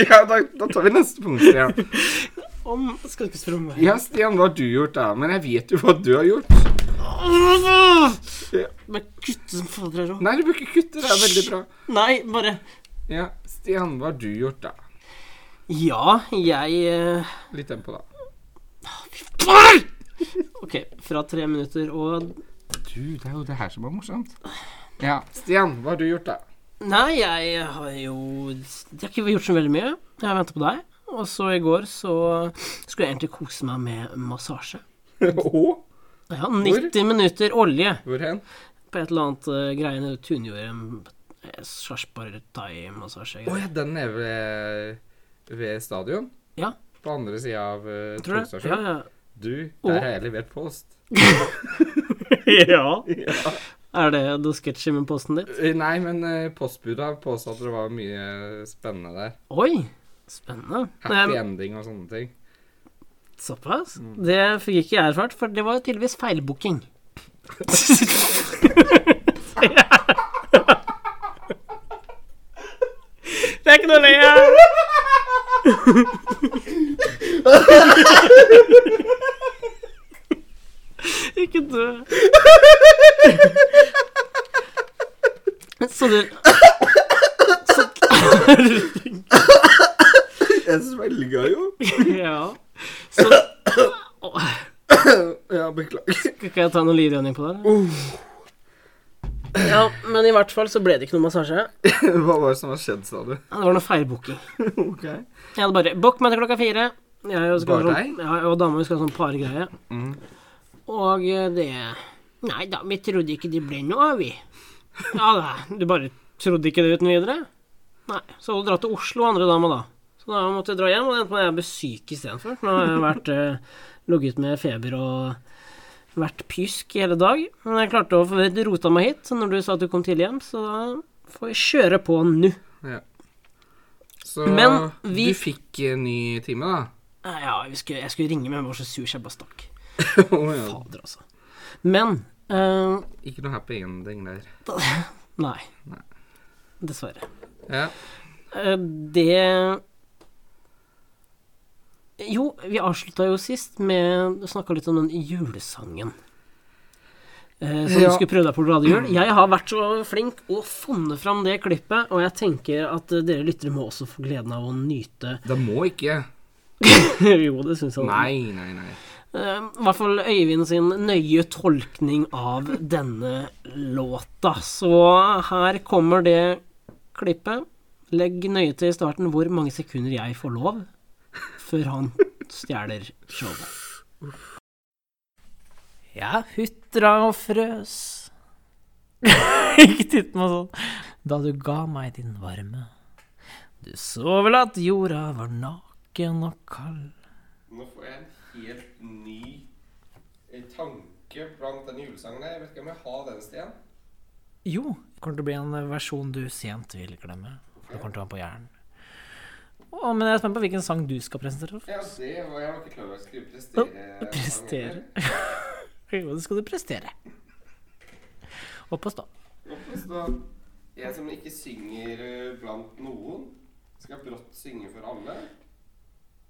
Speaker 2: ja, da, da tar vi neste punkt, Stian.
Speaker 1: Om Skal du ikke spørre om meg?
Speaker 2: Ja, Stian, hva har du gjort da? Men jeg vet jo hva du har gjort. Ja.
Speaker 1: Men kutte som fader her òg.
Speaker 2: Nei, du bør ikke kutte, det er veldig bra.
Speaker 1: Nei, bare
Speaker 2: Ja, Stian, hva har du gjort da?
Speaker 1: Ja, jeg eh,
Speaker 2: Litt tempo, da.
Speaker 1: Ok, fra tre minutter og
Speaker 2: Du, det er jo det her som er morsomt. Ja, Stian, hva har du *laughs* gjort da?
Speaker 1: Nei, jeg har jo Jeg har ikke gjort så veldig mye. Jeg har venta på deg. Og så i går så skulle jeg egentlig kose meg med massasje.
Speaker 2: Og?
Speaker 1: Ja, 90 minutter olje
Speaker 2: Hvor hen?
Speaker 1: på et eller annet uh, greie nede ved Tunjordet. Sarpsborg thai-massasje.
Speaker 2: Å ja, den er ved, ved stadion?
Speaker 1: Ja.
Speaker 2: På andre sida av
Speaker 1: Tror
Speaker 2: uh,
Speaker 1: du det? Ja,
Speaker 2: togstasjonen?
Speaker 1: ja.
Speaker 2: Du,
Speaker 1: Og-
Speaker 2: der har jeg levert post.
Speaker 1: ja.
Speaker 2: *laughs*
Speaker 1: *laughs*
Speaker 2: Ja.
Speaker 1: Er det noe sketsjy med posten din?
Speaker 2: Eh, Nei, men eh, postbudet har påstått at det var mye eh, spennende der.
Speaker 1: Oi! Spennende.
Speaker 2: Happy
Speaker 1: Nei,
Speaker 2: ending og sånne ting.
Speaker 1: såpass? Det fikk ikke jeg erfart, for det var jo tydeligvis feilbooking. Det er ikke noe å le av! Ikke dø. Så du
Speaker 2: Jeg svelga jo. *coughs*
Speaker 1: Ja. Så
Speaker 2: Ja, beklager. *coughs*
Speaker 1: Skal ikke jeg ta noe livrønning på det? eller? Ja, men i hvert fall så ble det ikke noe massasje. Ja,
Speaker 2: Hva var det som har skjedd, sa du?
Speaker 1: Det var noe feilbooking.
Speaker 2: Ok.
Speaker 1: Jeg hadde bare Bokk meg til klokka fire. Jeg og, skal
Speaker 2: Bare
Speaker 1: ha sånn, ja, jeg og dama vi skal ha sånn pargreie.
Speaker 2: Mm.
Speaker 1: Og eh, det Nei da, vi trodde ikke det ble noe av, vi. Ja da, du bare trodde ikke det uten videre? Nei. Så hadde hun dratt til Oslo, andre dama, da. Så da måtte jeg dra hjem, og det endte med at jeg ble syk istedenfor. Nå har jeg vært eh, ligget med feber og vært pjusk i hele dag. Men jeg klarte å få rota meg hit så når du sa at du kom tidlig hjem, så da får vi kjøre på nå.
Speaker 2: Så
Speaker 1: Men vi-
Speaker 2: du fikk eh, ny time, da? *laughs*
Speaker 1: Eh, Ja, vi skulle, jeg skulle ringe, men jeg var så sur, så jeg bare stakk.
Speaker 2: Å, ja.
Speaker 1: Fader, altså. Men eh,
Speaker 2: Ikke noe happy ending der.
Speaker 1: Nei.
Speaker 2: Nei.
Speaker 1: Dessverre.
Speaker 2: Ja.
Speaker 1: Eh, Det Jo, vi avslutta jo sist med Du snakka litt om den julesangen. Eh, som
Speaker 2: Ja.
Speaker 1: du skulle prøve deg på glade jul. Jeg har vært så flink og funnet fram det klippet, og jeg tenker at eh, dere lyttere må også få gleden av å nyte *laughs*
Speaker 2: Da må ikke.
Speaker 1: Jo, det syns jeg.
Speaker 2: Nei, nei, nei.
Speaker 1: Eh, I hvert fall Øyvind sin nøye tolkning av denne låta. Så her kommer det klippet. Legg nøye til i starten hvor mange sekunder jeg får lov før han stjeler showet. Jeg hutra og frøs. *laughs* Ikke titt meg sånn. Da du ga meg din varme. Du så vel at jorda var naken og kald.
Speaker 2: Nå får jeg en helt ny eh, tanke blant den julesangen Jeg vet ikke om jeg har den, Stian.
Speaker 1: Jo, det kommer til å bli en versjon du sent vil glemme. Det kommer til å være på hjernen. Å, men jeg er spent på hvilken sang du skal presentere.
Speaker 2: Ja, det var jeg var ikke klar over at jeg skulle prestere.
Speaker 1: Prestere. Jo, det skal du prestere. Opp og stå.
Speaker 2: Hvorfor stå Jeg som ikke synger eh, blant noen, skal brått synge for alle.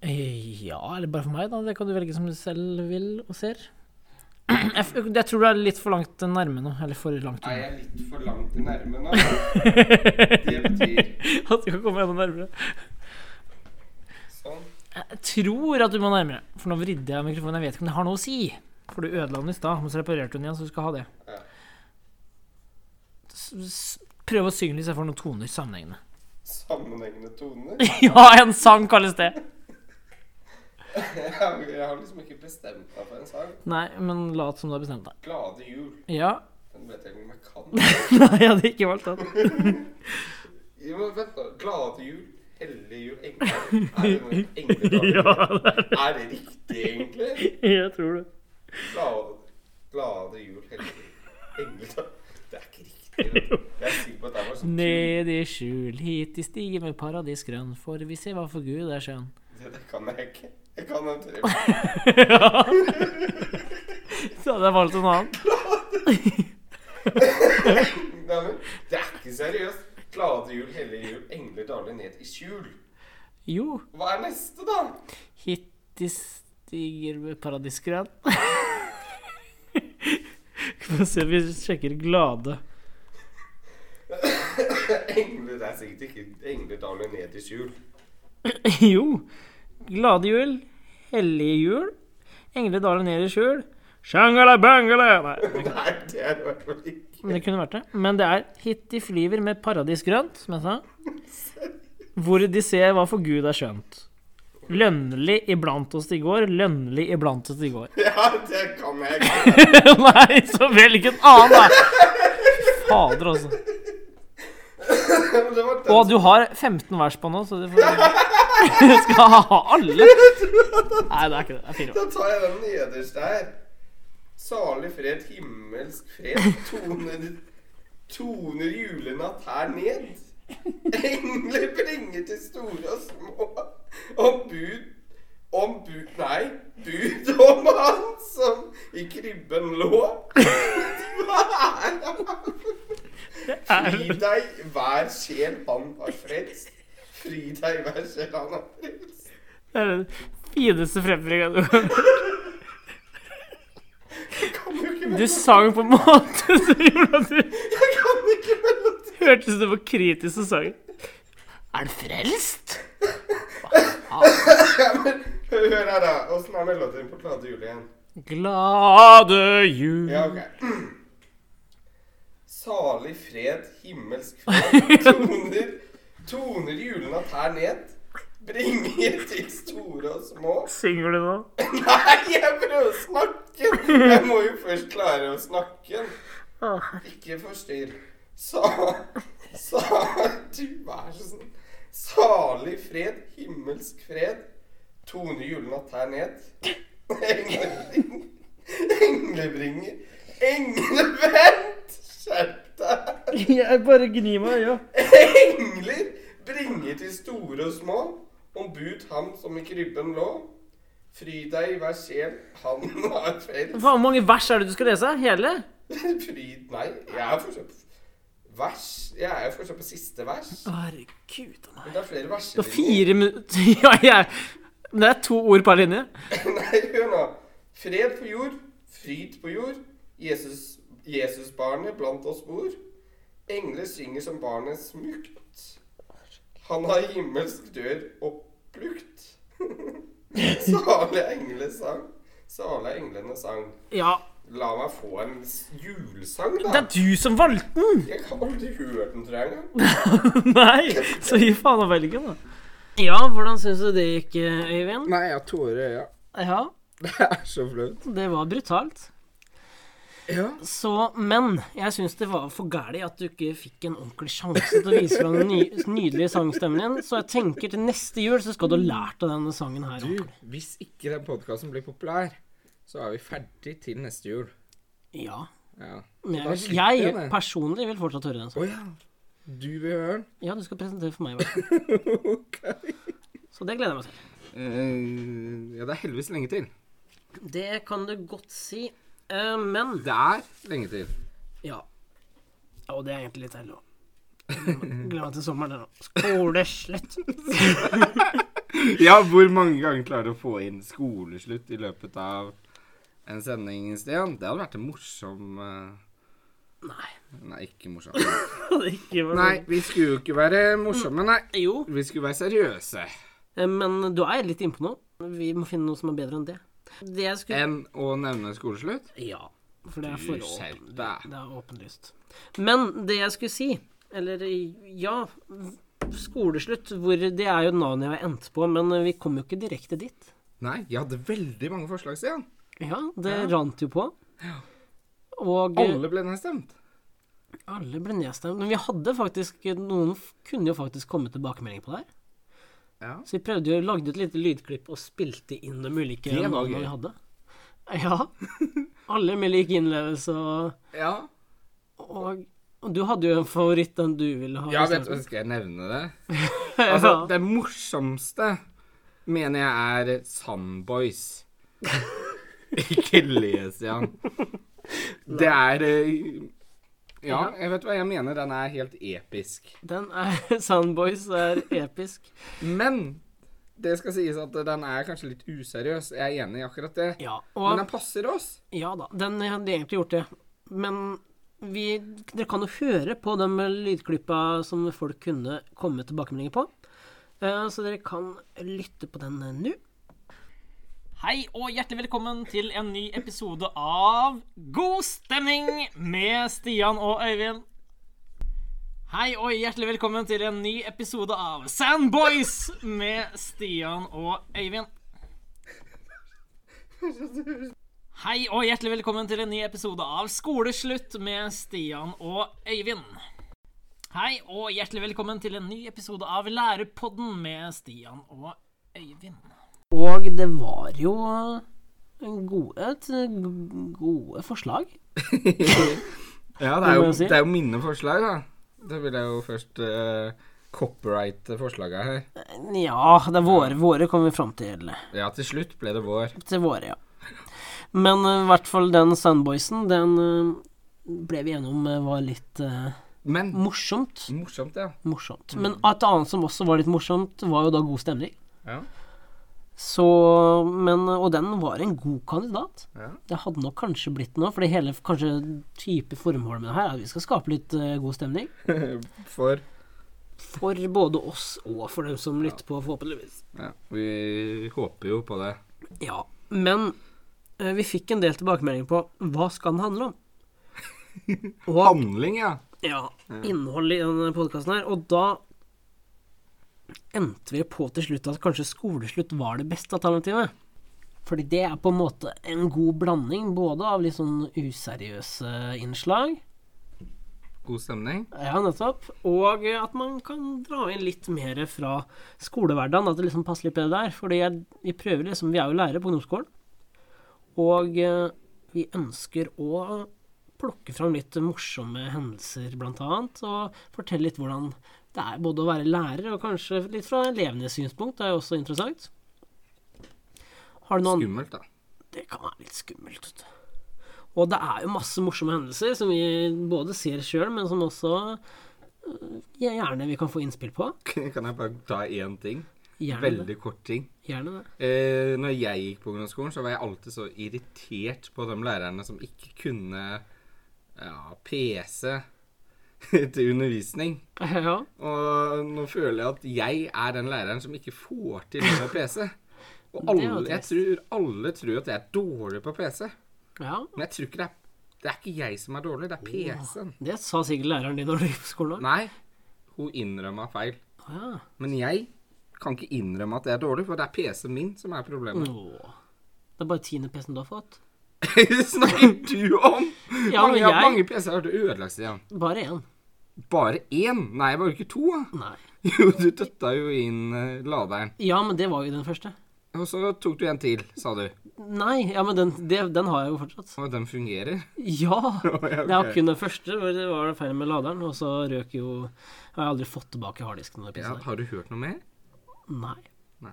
Speaker 1: Eh, Ja, eller bare for meg, da. Det kan du velge som du selv vil og ser. Jeg, f- jeg tror du er litt for langt nærme nå. Eller for langt
Speaker 2: Er
Speaker 1: unna.
Speaker 2: jeg litt for langt nærme nå?
Speaker 1: *laughs*
Speaker 2: Det betyr
Speaker 1: At du kan komme enda nærmere.
Speaker 2: sånn.
Speaker 1: Jeg tror at du må nærmere, for nå vridde jeg mikrofonen. Jeg vet ikke om det har noe å si. For du ødela den i stad, men så reparerte du den igjen, så du skal ha det.
Speaker 2: Ja.
Speaker 1: S- s- Prøv å synge litt, så jeg får noen toner sammenhengende.
Speaker 2: Sammenhengende tone.
Speaker 1: *laughs* Ja, en sang kalles det.
Speaker 2: *laughs* Jeg har jeg har liksom ikke bestemt meg for en sang.
Speaker 1: Nei, men lat som du har bestemt deg.
Speaker 2: 'Glade jul'.
Speaker 1: Ja.
Speaker 2: Den vet jeg ikke om jeg kan.
Speaker 1: *laughs* Nei, jeg hadde ikke valgt den. *laughs*
Speaker 2: Jo, men vent, da. 'Glade jul', 'Hellige jul',
Speaker 1: *laughs*
Speaker 2: 'Engler'. Er det noe engledager?
Speaker 1: Ja, det er-
Speaker 2: Er det riktig, egentlig?
Speaker 1: jeg tror det.
Speaker 2: Glade, glade jul, hellige engler Det er ikke riktig. vet du. Jeg er sikker på at det var sånn tull.
Speaker 1: Ned i skjul, hit i stigen med paradis grønn, for vi ser hva for Gud er skjønn.
Speaker 2: Det, det kan jeg ikke. Jeg kan den tre.
Speaker 1: *laughs* Ja. *laughs* Så hadde jeg valgt en annen.
Speaker 2: Nei, men Det er ikke seriøst. Glade jul, hellige jul, engler daler ned i skjul.
Speaker 1: Jo.
Speaker 2: Hva er neste, da?
Speaker 1: Hit i stiger med paradis *laughs* grønn. Skal vi se, vi sjekker glade. *laughs*
Speaker 2: *coughs* Engler det er sikkert ikke Engler daler ned i skjul. *laughs*
Speaker 1: Jo. Glade jul. Hellige jul. Engler daler ned i skjul. Shangala bangala Nei,
Speaker 2: Nei, det er det i hvert fall ikke.
Speaker 1: men det kunne vært det. Men det er hit de flyver med paradis grønt, som jeg sa. Hvor de ser hva for Gud er skjønt. Lønnlig iblant oss i går, lønnlig iblant oss i går. *laughs*
Speaker 2: Ja, det kan jeg ikke. *laughs*
Speaker 1: Nei, så velg en annen, da! Fader, altså.
Speaker 2: Men Det var den
Speaker 1: Og du har 15 vers på nå, så du får *laughs* Du skal ha alle! Nei, det er ikke det. Det er fire.
Speaker 2: Da tar jeg den nederste her. Salig fred, himmelsk fred, toner, toner julenatt her ned. Engler bringer til store og små om bud om bud Nei, bud om han som i krybben lå. Hva er det? Fri deg, hver sjel han har frelst. Fri deg, hver sjel han har frelst.
Speaker 1: Det er den fineste fremføringa du kan
Speaker 2: Kan du ikke
Speaker 1: Du sang på en måte *laughs* som gjorde at du
Speaker 2: Jeg kan ikke mellom
Speaker 1: hørtes ut som du var kritisk til sangen. Er du frelst?
Speaker 2: Ja, men hør her, da. Åssen er melodien på Glade jul igjen?
Speaker 1: Glade jul
Speaker 2: Ja, ok. Salig fred, himmelsk fred, toner, toner julenatt her ned. Bringer til store og små.
Speaker 1: Synger du nå?
Speaker 2: Nei, jeg prøver å snakke! Jeg må jo først klare å snakke. Ikke forstyrr. Sa... Sa... Du, vær så snill. Salig fred, himmelsk fred. Tone julenatt her ned. Englebringer. Englebringer. Englevent! Skjerp deg!
Speaker 1: Jeg bare gnir meg i øya.
Speaker 2: Engler bringer til store og små. Om bud ham som i krybben lå. Fry deg i hver sjel han har frelst.
Speaker 1: Hvor mange vers er det du skal lese? Hele?
Speaker 2: Fryd Nei, jeg er fortsatt på vers. Jeg er jo fortsatt på siste vers.
Speaker 1: Herregud a meg.
Speaker 2: Men det er flere
Speaker 1: Det
Speaker 2: verser.
Speaker 1: var fire minutter *laughs* Ja, jeg Men Det er to ord per linje.
Speaker 2: *laughs* Nei, hør nå. Fred på jord, fryd på jord. Jesus, Jesusbarnet blant oss bor. Engler synger som barnet smukt. Han har himmelsk dør opplukt. *laughs* Salig er englenes sang. Salig er englene sang.
Speaker 1: Ja.
Speaker 2: La meg få en s- julesang,
Speaker 1: Det
Speaker 2: da.
Speaker 1: er du som valgte den!
Speaker 2: Jeg har aldri hørt den, tror jeg. engang.
Speaker 1: *laughs* Nei, så gi faen å velge, da. Ja, hvordan syns du det gikk, Øyvind?
Speaker 2: Nei, jeg har tårer i øya. *laughs*
Speaker 1: Ja,
Speaker 2: Det er så flaut.
Speaker 1: det var brutalt.
Speaker 2: Ja.
Speaker 1: Så, men jeg syns det var for gæli at du ikke fikk en ordentlig sjanse til å vise fram den ny, nydelige sangstemmen din, så jeg tenker til neste jul så skal du ha lært av denne sangen her.
Speaker 2: Du, hvis ikke den podkasten blir populær, så er vi ferdig til neste jul.
Speaker 1: Ja.
Speaker 2: Ja.
Speaker 1: Men
Speaker 2: Da
Speaker 1: jeg, vil-
Speaker 2: slipper jeg
Speaker 1: jeg
Speaker 2: det.
Speaker 1: personlig vil fortsatt høre den sangen.
Speaker 2: Å ja. Du vil høre den? *laughs*
Speaker 1: Ja, du skal presentere for meg, i hvert fall.
Speaker 2: ok.
Speaker 1: Så det gleder jeg meg til.
Speaker 2: Eh, ja, det er heldigvis lenge til.
Speaker 1: Det kan du godt si. Eh, men
Speaker 2: Det er lenge til.
Speaker 1: ja. Og det er egentlig litt deilig òg. Gleder meg til sommeren, det nå. Skoleslutt.
Speaker 2: Ja, hvor mange ganger klarer du å få inn skoleslutt i løpet av en sending, Stian? Det hadde vært en morsom
Speaker 3: Nei.
Speaker 2: eh, Nei, ikke *laughs* morsom.
Speaker 1: *laughs* Det er ikke bare-
Speaker 2: Nei, vi skulle jo ikke være morsomme, nei.
Speaker 1: Jo,
Speaker 2: Vi skulle være seriøse.
Speaker 1: eh, men du er litt innpå noe. Vi må finne noe som er bedre enn det. Det jeg skulle
Speaker 2: Enn å nevne skoleslutt?
Speaker 1: Ja. For det er
Speaker 2: Eh, Du
Speaker 1: for
Speaker 2: skjerp
Speaker 1: åpen-
Speaker 2: deg.
Speaker 1: det er åpenlyst. Men det jeg skulle si, eller ja Skoleslutt, hvor det er jo navnet jeg har endt på, men vi kom jo ikke direkte dit.
Speaker 2: Nei, jeg hadde veldig mange forslag, Stian.
Speaker 1: Ja, det rant jo på. Og
Speaker 2: Alle ble nedstemt.
Speaker 1: Alle ble nedstemt. Men vi hadde faktisk Noen f- kunne jo faktisk komme tilbakemelding på det her.
Speaker 2: Ja.
Speaker 1: Så vi prøvde jo, lagde et lite lydklipp og spilte inn de ulike
Speaker 2: Det var
Speaker 1: navnene
Speaker 2: gøy.
Speaker 1: vi hadde. Ja. *laughs* Alle med lik innlevelse og,
Speaker 2: Ja,
Speaker 1: og og du hadde jo en favoritt, den du ville ha.
Speaker 2: ja
Speaker 1: i
Speaker 2: vet du,
Speaker 1: starten.
Speaker 2: skal jeg nevne det? Altså,
Speaker 1: *laughs* Ja.
Speaker 2: det morsomste mener jeg er Sandboys.
Speaker 1: *laughs*
Speaker 2: Ikke le, Stian. Det er eh, Ja, jeg vet hva jeg mener. Den er helt episk.
Speaker 1: Den er *laughs* Soundboys er episk.
Speaker 2: Men det skal sies at den er kanskje litt useriøs. Jeg er enig i akkurat det.
Speaker 1: Ja,
Speaker 2: Men
Speaker 1: og
Speaker 2: den passer
Speaker 1: *laughs*
Speaker 2: oss.
Speaker 1: ja da, den hadde egentlig gjort det. Men vi Dere kan jo høre på de lydklippa som folk kunne komme med tilbakemeldinger på. Eh, Så dere kan lytte på den eh, nå.
Speaker 3: Hei og hjertelig velkommen til en ny episode av God stemning med Stian og Øyvind. Hei og hjertelig velkommen til en ny episode av Sandboys med Stian og Øyvind. Hei og hjertelig velkommen til en ny episode av Skoleslutt med Stian og Øyvind. Hei og hjertelig velkommen til en ny episode av Lærepodden med Stian og Øyvind.
Speaker 1: Og det var jo gode, et gode forslag.
Speaker 2: Ja, det er jo,
Speaker 1: må jeg si.
Speaker 2: det er jo mine forslag, da. Da vil jeg jo først eh, copyrighte forslaga her.
Speaker 1: Ja, det er våre. Våre kommer vi fram til.
Speaker 2: Ja, til slutt ble det vår.
Speaker 1: Til våre, ja. Men eh, i hvert fall den Sandboysen, den eh, ble vi enige om eh, var litt eh,
Speaker 2: Men
Speaker 1: morsomt.
Speaker 2: morsomt, ja.
Speaker 1: Morsomt. Men et annet som også var litt morsomt, var jo da God stemning.
Speaker 2: Ja.
Speaker 1: Så, men, Og den var en god kandidat.
Speaker 2: Ja.
Speaker 1: Det hadde nok kanskje blitt noe, for det hele kanskje type formålet med det her er at vi skal skape litt eh, god stemning.
Speaker 2: For
Speaker 1: For både oss og for dem som lytter på, forhåpentligvis.
Speaker 2: ja, Vi håper jo på det.
Speaker 1: Ja, men eh, vi fikk en del tilbakemeldinger på hva skal den handle om? Og
Speaker 2: Handling, ja.
Speaker 1: ja, innholdet i denne podkasten her. Og da endte vi på til slutt at kanskje skoleslutt var det beste alternativet. Fordi det er på en måte en god blanding både av litt sånn useriøse innslag
Speaker 2: God stemning.
Speaker 1: Ja, nettopp. Og at man kan dra inn litt mer fra skolehverdagen, at det liksom passer litt bedre der. Fordi jeg, vi prøver liksom, vi er jo lærere på ungdomsskolen, og eh, vi ønsker å plukke fram litt morsomme hendelser, blant annet, og fortelle litt hvordan det er både å være lærer, og kanskje litt fra elevenes synspunkt, det er jo også interessant. Har du noen
Speaker 2: Skummelt, da. *laughs*
Speaker 1: det kan være litt skummelt. vet du. Og det er jo masse morsomme hendelser som vi både ser sjøl, men som også øh, gjerne vi kan få innspill på.
Speaker 2: Kan jeg bare ta én ting?
Speaker 1: Gjerne det.
Speaker 2: Veldig kort ting.
Speaker 1: Gjerne det. *laughs*
Speaker 2: Eh, når jeg gikk på ungdomsskolen, så var jeg alltid så irritert på de lærerne som ikke kunne ja, PC *laughs* til undervisning.
Speaker 1: Ja.
Speaker 2: Og nå føler jeg at jeg er den læreren som ikke får til det med PC. Og
Speaker 1: Det er jo
Speaker 2: alle, jeg
Speaker 1: trist.
Speaker 2: tror, alle tror at jeg er dårlig på PC.
Speaker 1: ja.
Speaker 2: Men jeg tror ikke det er Det er ikke jeg som er dårlig, det er PC-en.
Speaker 1: Det sa sikkert læreren din når du gikk på skolen.
Speaker 2: Nei, hun innrømma feil.
Speaker 1: Ja.
Speaker 2: Men jeg kan ikke innrømme at jeg er dårlig, for det er PC-en min som er *laughs* problemet.
Speaker 1: Åh. Det er bare tiende PC-en du har fått.
Speaker 2: snakker du om?
Speaker 1: Ja,
Speaker 2: mange,
Speaker 1: men
Speaker 2: jeg...
Speaker 1: jeg-
Speaker 2: mange PC-er har du ødelagt, Stian.
Speaker 1: Bare én.
Speaker 2: Bare én? Nei, var det ikke to? da? *laughs*
Speaker 1: Nei.
Speaker 2: Jo, du døtta jo inn eh, laderen.
Speaker 1: Ja, men det var jo den første.
Speaker 2: Og så tok du en til, sa du.
Speaker 1: Nei, ja, men den, det, den har jeg jo fortsatt.
Speaker 2: Og den fungerer.
Speaker 1: Ja!
Speaker 2: *laughs* ok.
Speaker 1: Det var kun den første, hvor det var feil med laderen, og så røk jo Jeg har aldri fått tilbake harddisken. når jeg
Speaker 2: Ja,
Speaker 1: pisser.
Speaker 2: har du hørt noe mer?
Speaker 1: Nei.
Speaker 2: Nei.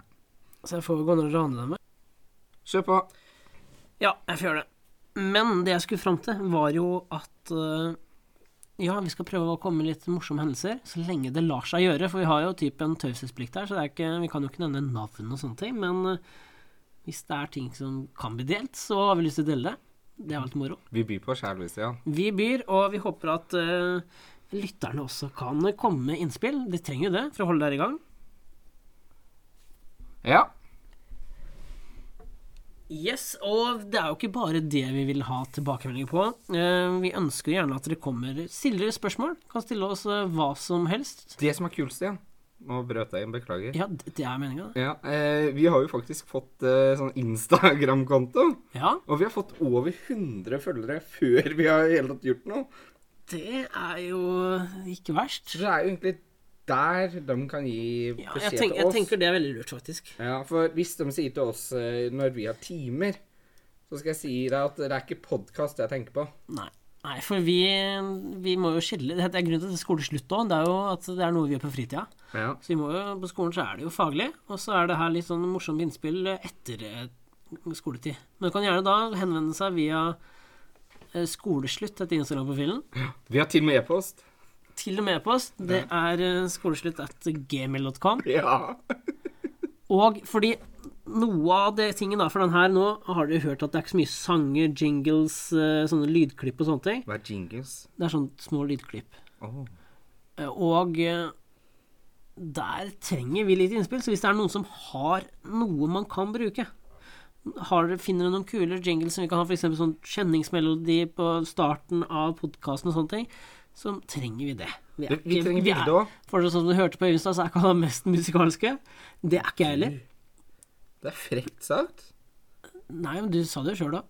Speaker 1: Så jeg får vel gå ned og rane dem.
Speaker 2: Kjør på.
Speaker 1: Ja, jeg får gjøre det. Men det jeg skulle fram til, var jo at eh, ja, vi skal prøve å komme med litt morsomme hendelser, så lenge det lar seg gjøre. For vi har jo typ en taushetsplikt her, så det er ikke, vi kan jo ikke nevne navn og sånne ting. Men eh, hvis det er ting som kan bli delt, så har vi lyst til å dele det. Det er alltid moro.
Speaker 2: Vi byr på sjæl, Stian.
Speaker 1: Vi byr, og vi håper at eh, lytterne også kan komme med innspill. De trenger jo det for å holde dere i gang.
Speaker 2: Ja.
Speaker 1: Yes, og det er jo ikke bare det vi vil ha tilbakemeldinger på. Eh, vi ønsker gjerne at dere kommer stiller dere spørsmål. Kan stille oss eh, hva som helst.
Speaker 2: Det som er kult, Stian Nå brøt jeg inn, beklager.
Speaker 1: Ja, d- det er meninga, det.
Speaker 2: Ja, eh, Vi har jo faktisk fått eh, sånn Instagram-konto.
Speaker 1: Ja,
Speaker 2: Og vi har fått over 100 følgere før vi har i hele tatt gjort noe.
Speaker 1: det er jo ikke verst.
Speaker 2: Så det er jo egentlig der de kan gi
Speaker 1: Ja,
Speaker 2: beskjed
Speaker 1: jeg, tenk,
Speaker 2: til
Speaker 1: jeg
Speaker 2: oss.
Speaker 1: tenker det er veldig lurt, faktisk.
Speaker 2: Ja, for hvis de sier til oss eh, når vi har timer, så skal jeg si deg at det er ikke podkast jeg tenker på.
Speaker 1: Nei. Nei, for vi, vi må jo skille Det er grunnen til at det er skoleslutt òg. Det er jo at det er noe vi gjør på fritida.
Speaker 2: Ja.
Speaker 1: Så vi må jo, på skolen så er det jo faglig, og så er det her litt sånn morsomme innspill etter eh, skoletid. Men du kan gjerne da henvende seg via eh, skoleslutt etter Instagram-profilen.
Speaker 2: Vi har til og med e-post.
Speaker 1: Til og med e-post. Det er eh, skoleslutt at gmail.com.
Speaker 2: Ja.
Speaker 1: Og fordi noe av det tingen da, for den her nå har dere hørt at det er ikke så mye sanger, jingles, eh, sånne lydklipp og sånne ting.
Speaker 2: Hva er jingles?
Speaker 1: Det er sånne små lydklipp.
Speaker 2: Oh.
Speaker 1: Eh, Og eh, der trenger vi litt innspill, så hvis det er noen som har noe man kan bruke har, dere- Finner dere noen kule jingles som vi kan ha, f.eks. sånn kjenningsmelodi på starten av podkasten og sånne ting, så trenger vi det. er
Speaker 2: Vi- vi
Speaker 1: ikke-
Speaker 2: trenger
Speaker 1: vi er-
Speaker 2: bilde også.
Speaker 1: For sånn som du hørte på Øyvind, så er ikke han den mest musikalske. Det er ikke jeg heller.
Speaker 2: Det er frekt sagt.
Speaker 1: Nei, men du sa det jo sjøl, da.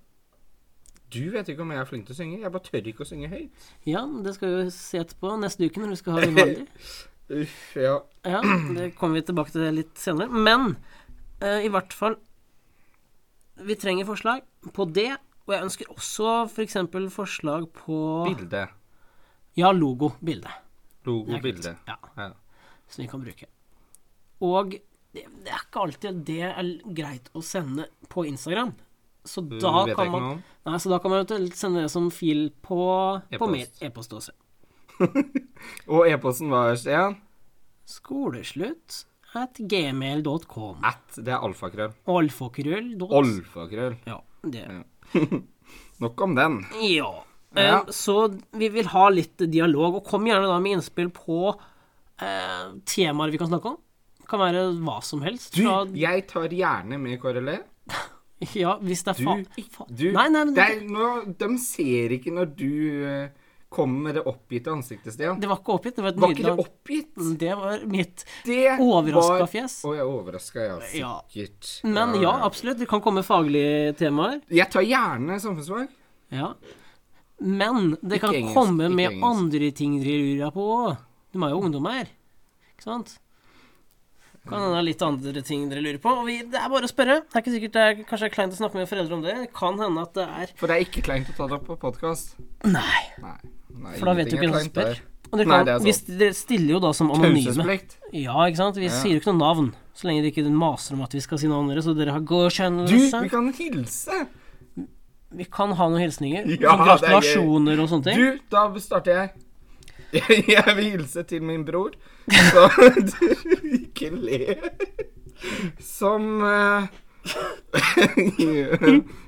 Speaker 2: Du vet ikke om jeg er flink til å synge. Jeg bare tør ikke å synge høyt.
Speaker 1: Ja, men det skal vi jo se etterpå neste uke når vi skal ha Vivaldi.
Speaker 2: Uff, ja.
Speaker 1: Ja,
Speaker 2: *clears throat*
Speaker 1: det kommer vi tilbake til litt senere. Men eh, i hvert fall Vi trenger forslag på det. Og jeg ønsker også f.eks. forslag på
Speaker 2: Bilde.
Speaker 1: Ja, logo. Bilde.
Speaker 2: Logo,
Speaker 1: Det er
Speaker 2: bilde.
Speaker 1: kult. Ja,
Speaker 2: Ja.
Speaker 1: Som vi kan bruke. Og det, det er ikke alltid at det er greit å sende på Instagram. Så da,
Speaker 2: Mm, vet jeg
Speaker 1: kan
Speaker 2: ikke
Speaker 1: man,
Speaker 2: noe om.
Speaker 1: nei, så da kan man eventuelt sende det som fil på på mail-
Speaker 2: E-post.
Speaker 1: e-post også.
Speaker 2: Og e-posten var Stian?
Speaker 1: Skoleslutt at gmail.com.
Speaker 2: At. Det er alfakrøll.
Speaker 1: Alfakrøll. dot-
Speaker 2: Olfakrøll.
Speaker 1: Ja, det
Speaker 2: Nok om den.
Speaker 1: Ja.
Speaker 2: Ja.
Speaker 1: Eh, Så vi vil ha litt dialog, og kom gjerne da med innspill på eh, temaer vi kan snakke om. Kan være hva som helst.
Speaker 2: Du,
Speaker 1: fra-
Speaker 2: jeg tar gjerne med KRLE.
Speaker 1: ja, hvis det er
Speaker 2: E. Du,
Speaker 1: fa... fa-
Speaker 2: du
Speaker 1: nei, nei, men
Speaker 2: det
Speaker 1: det,
Speaker 2: er, nå, De ser ikke når du eh, kommer med det oppgitte ansiktet, Stian.
Speaker 1: det var ikke oppgitt. Det var et
Speaker 2: Var ikke det
Speaker 1: nydelig
Speaker 2: oppgitt?
Speaker 1: Mm, Det var mitt.
Speaker 2: Det
Speaker 1: Overraska
Speaker 2: var-
Speaker 1: fjes.
Speaker 2: Å, jeg overraska, ja.
Speaker 1: Ja.
Speaker 2: Sikkert.
Speaker 1: Men ja, absolutt. Det kan komme faglige temaer.
Speaker 2: Jeg tar gjerne samfunnsfag.
Speaker 1: Ja. Men det kan
Speaker 2: engelsk,
Speaker 1: komme
Speaker 2: ikke
Speaker 1: med
Speaker 2: engelsk.
Speaker 1: andre ting dere lurer på. De er jo ungdommer, ikke sant? Kan hende det er litt andre ting dere lurer på. Og vi, det er bare å spørre. Det er ikke sikkert det er kanskje det er kleint å snakke med foreldre om det. Det kan hende at det er
Speaker 2: For det er ikke kleint å ta det opp på podkast.
Speaker 1: Nei,
Speaker 2: Nei. Nei,
Speaker 1: for da vet du
Speaker 2: ingenting
Speaker 1: ikke
Speaker 2: er
Speaker 1: hvem som spør.
Speaker 2: kleint der.
Speaker 1: Og dere,
Speaker 2: Nei,
Speaker 1: kan,
Speaker 2: det er sant.
Speaker 1: hvis dere stiller jo da som anonyme.
Speaker 2: Taushetsplikt.
Speaker 1: Ja, ikke sant? Vi sier jo ikke noe navn. Så lenge dere ikke maser om at vi skal si navnet deres, og dere har
Speaker 2: Du,
Speaker 1: godkjennelse.
Speaker 2: vi kan hilse!
Speaker 1: Vi kan ha noen hilsninger. sånn
Speaker 2: Ja, det er gøy.
Speaker 1: gratulasjoner og sånne ting.
Speaker 2: Du, da starter jeg. *laughs* Jeg vil hilse til min bror, så *laughs* du ikke le. Som eh, *laughs*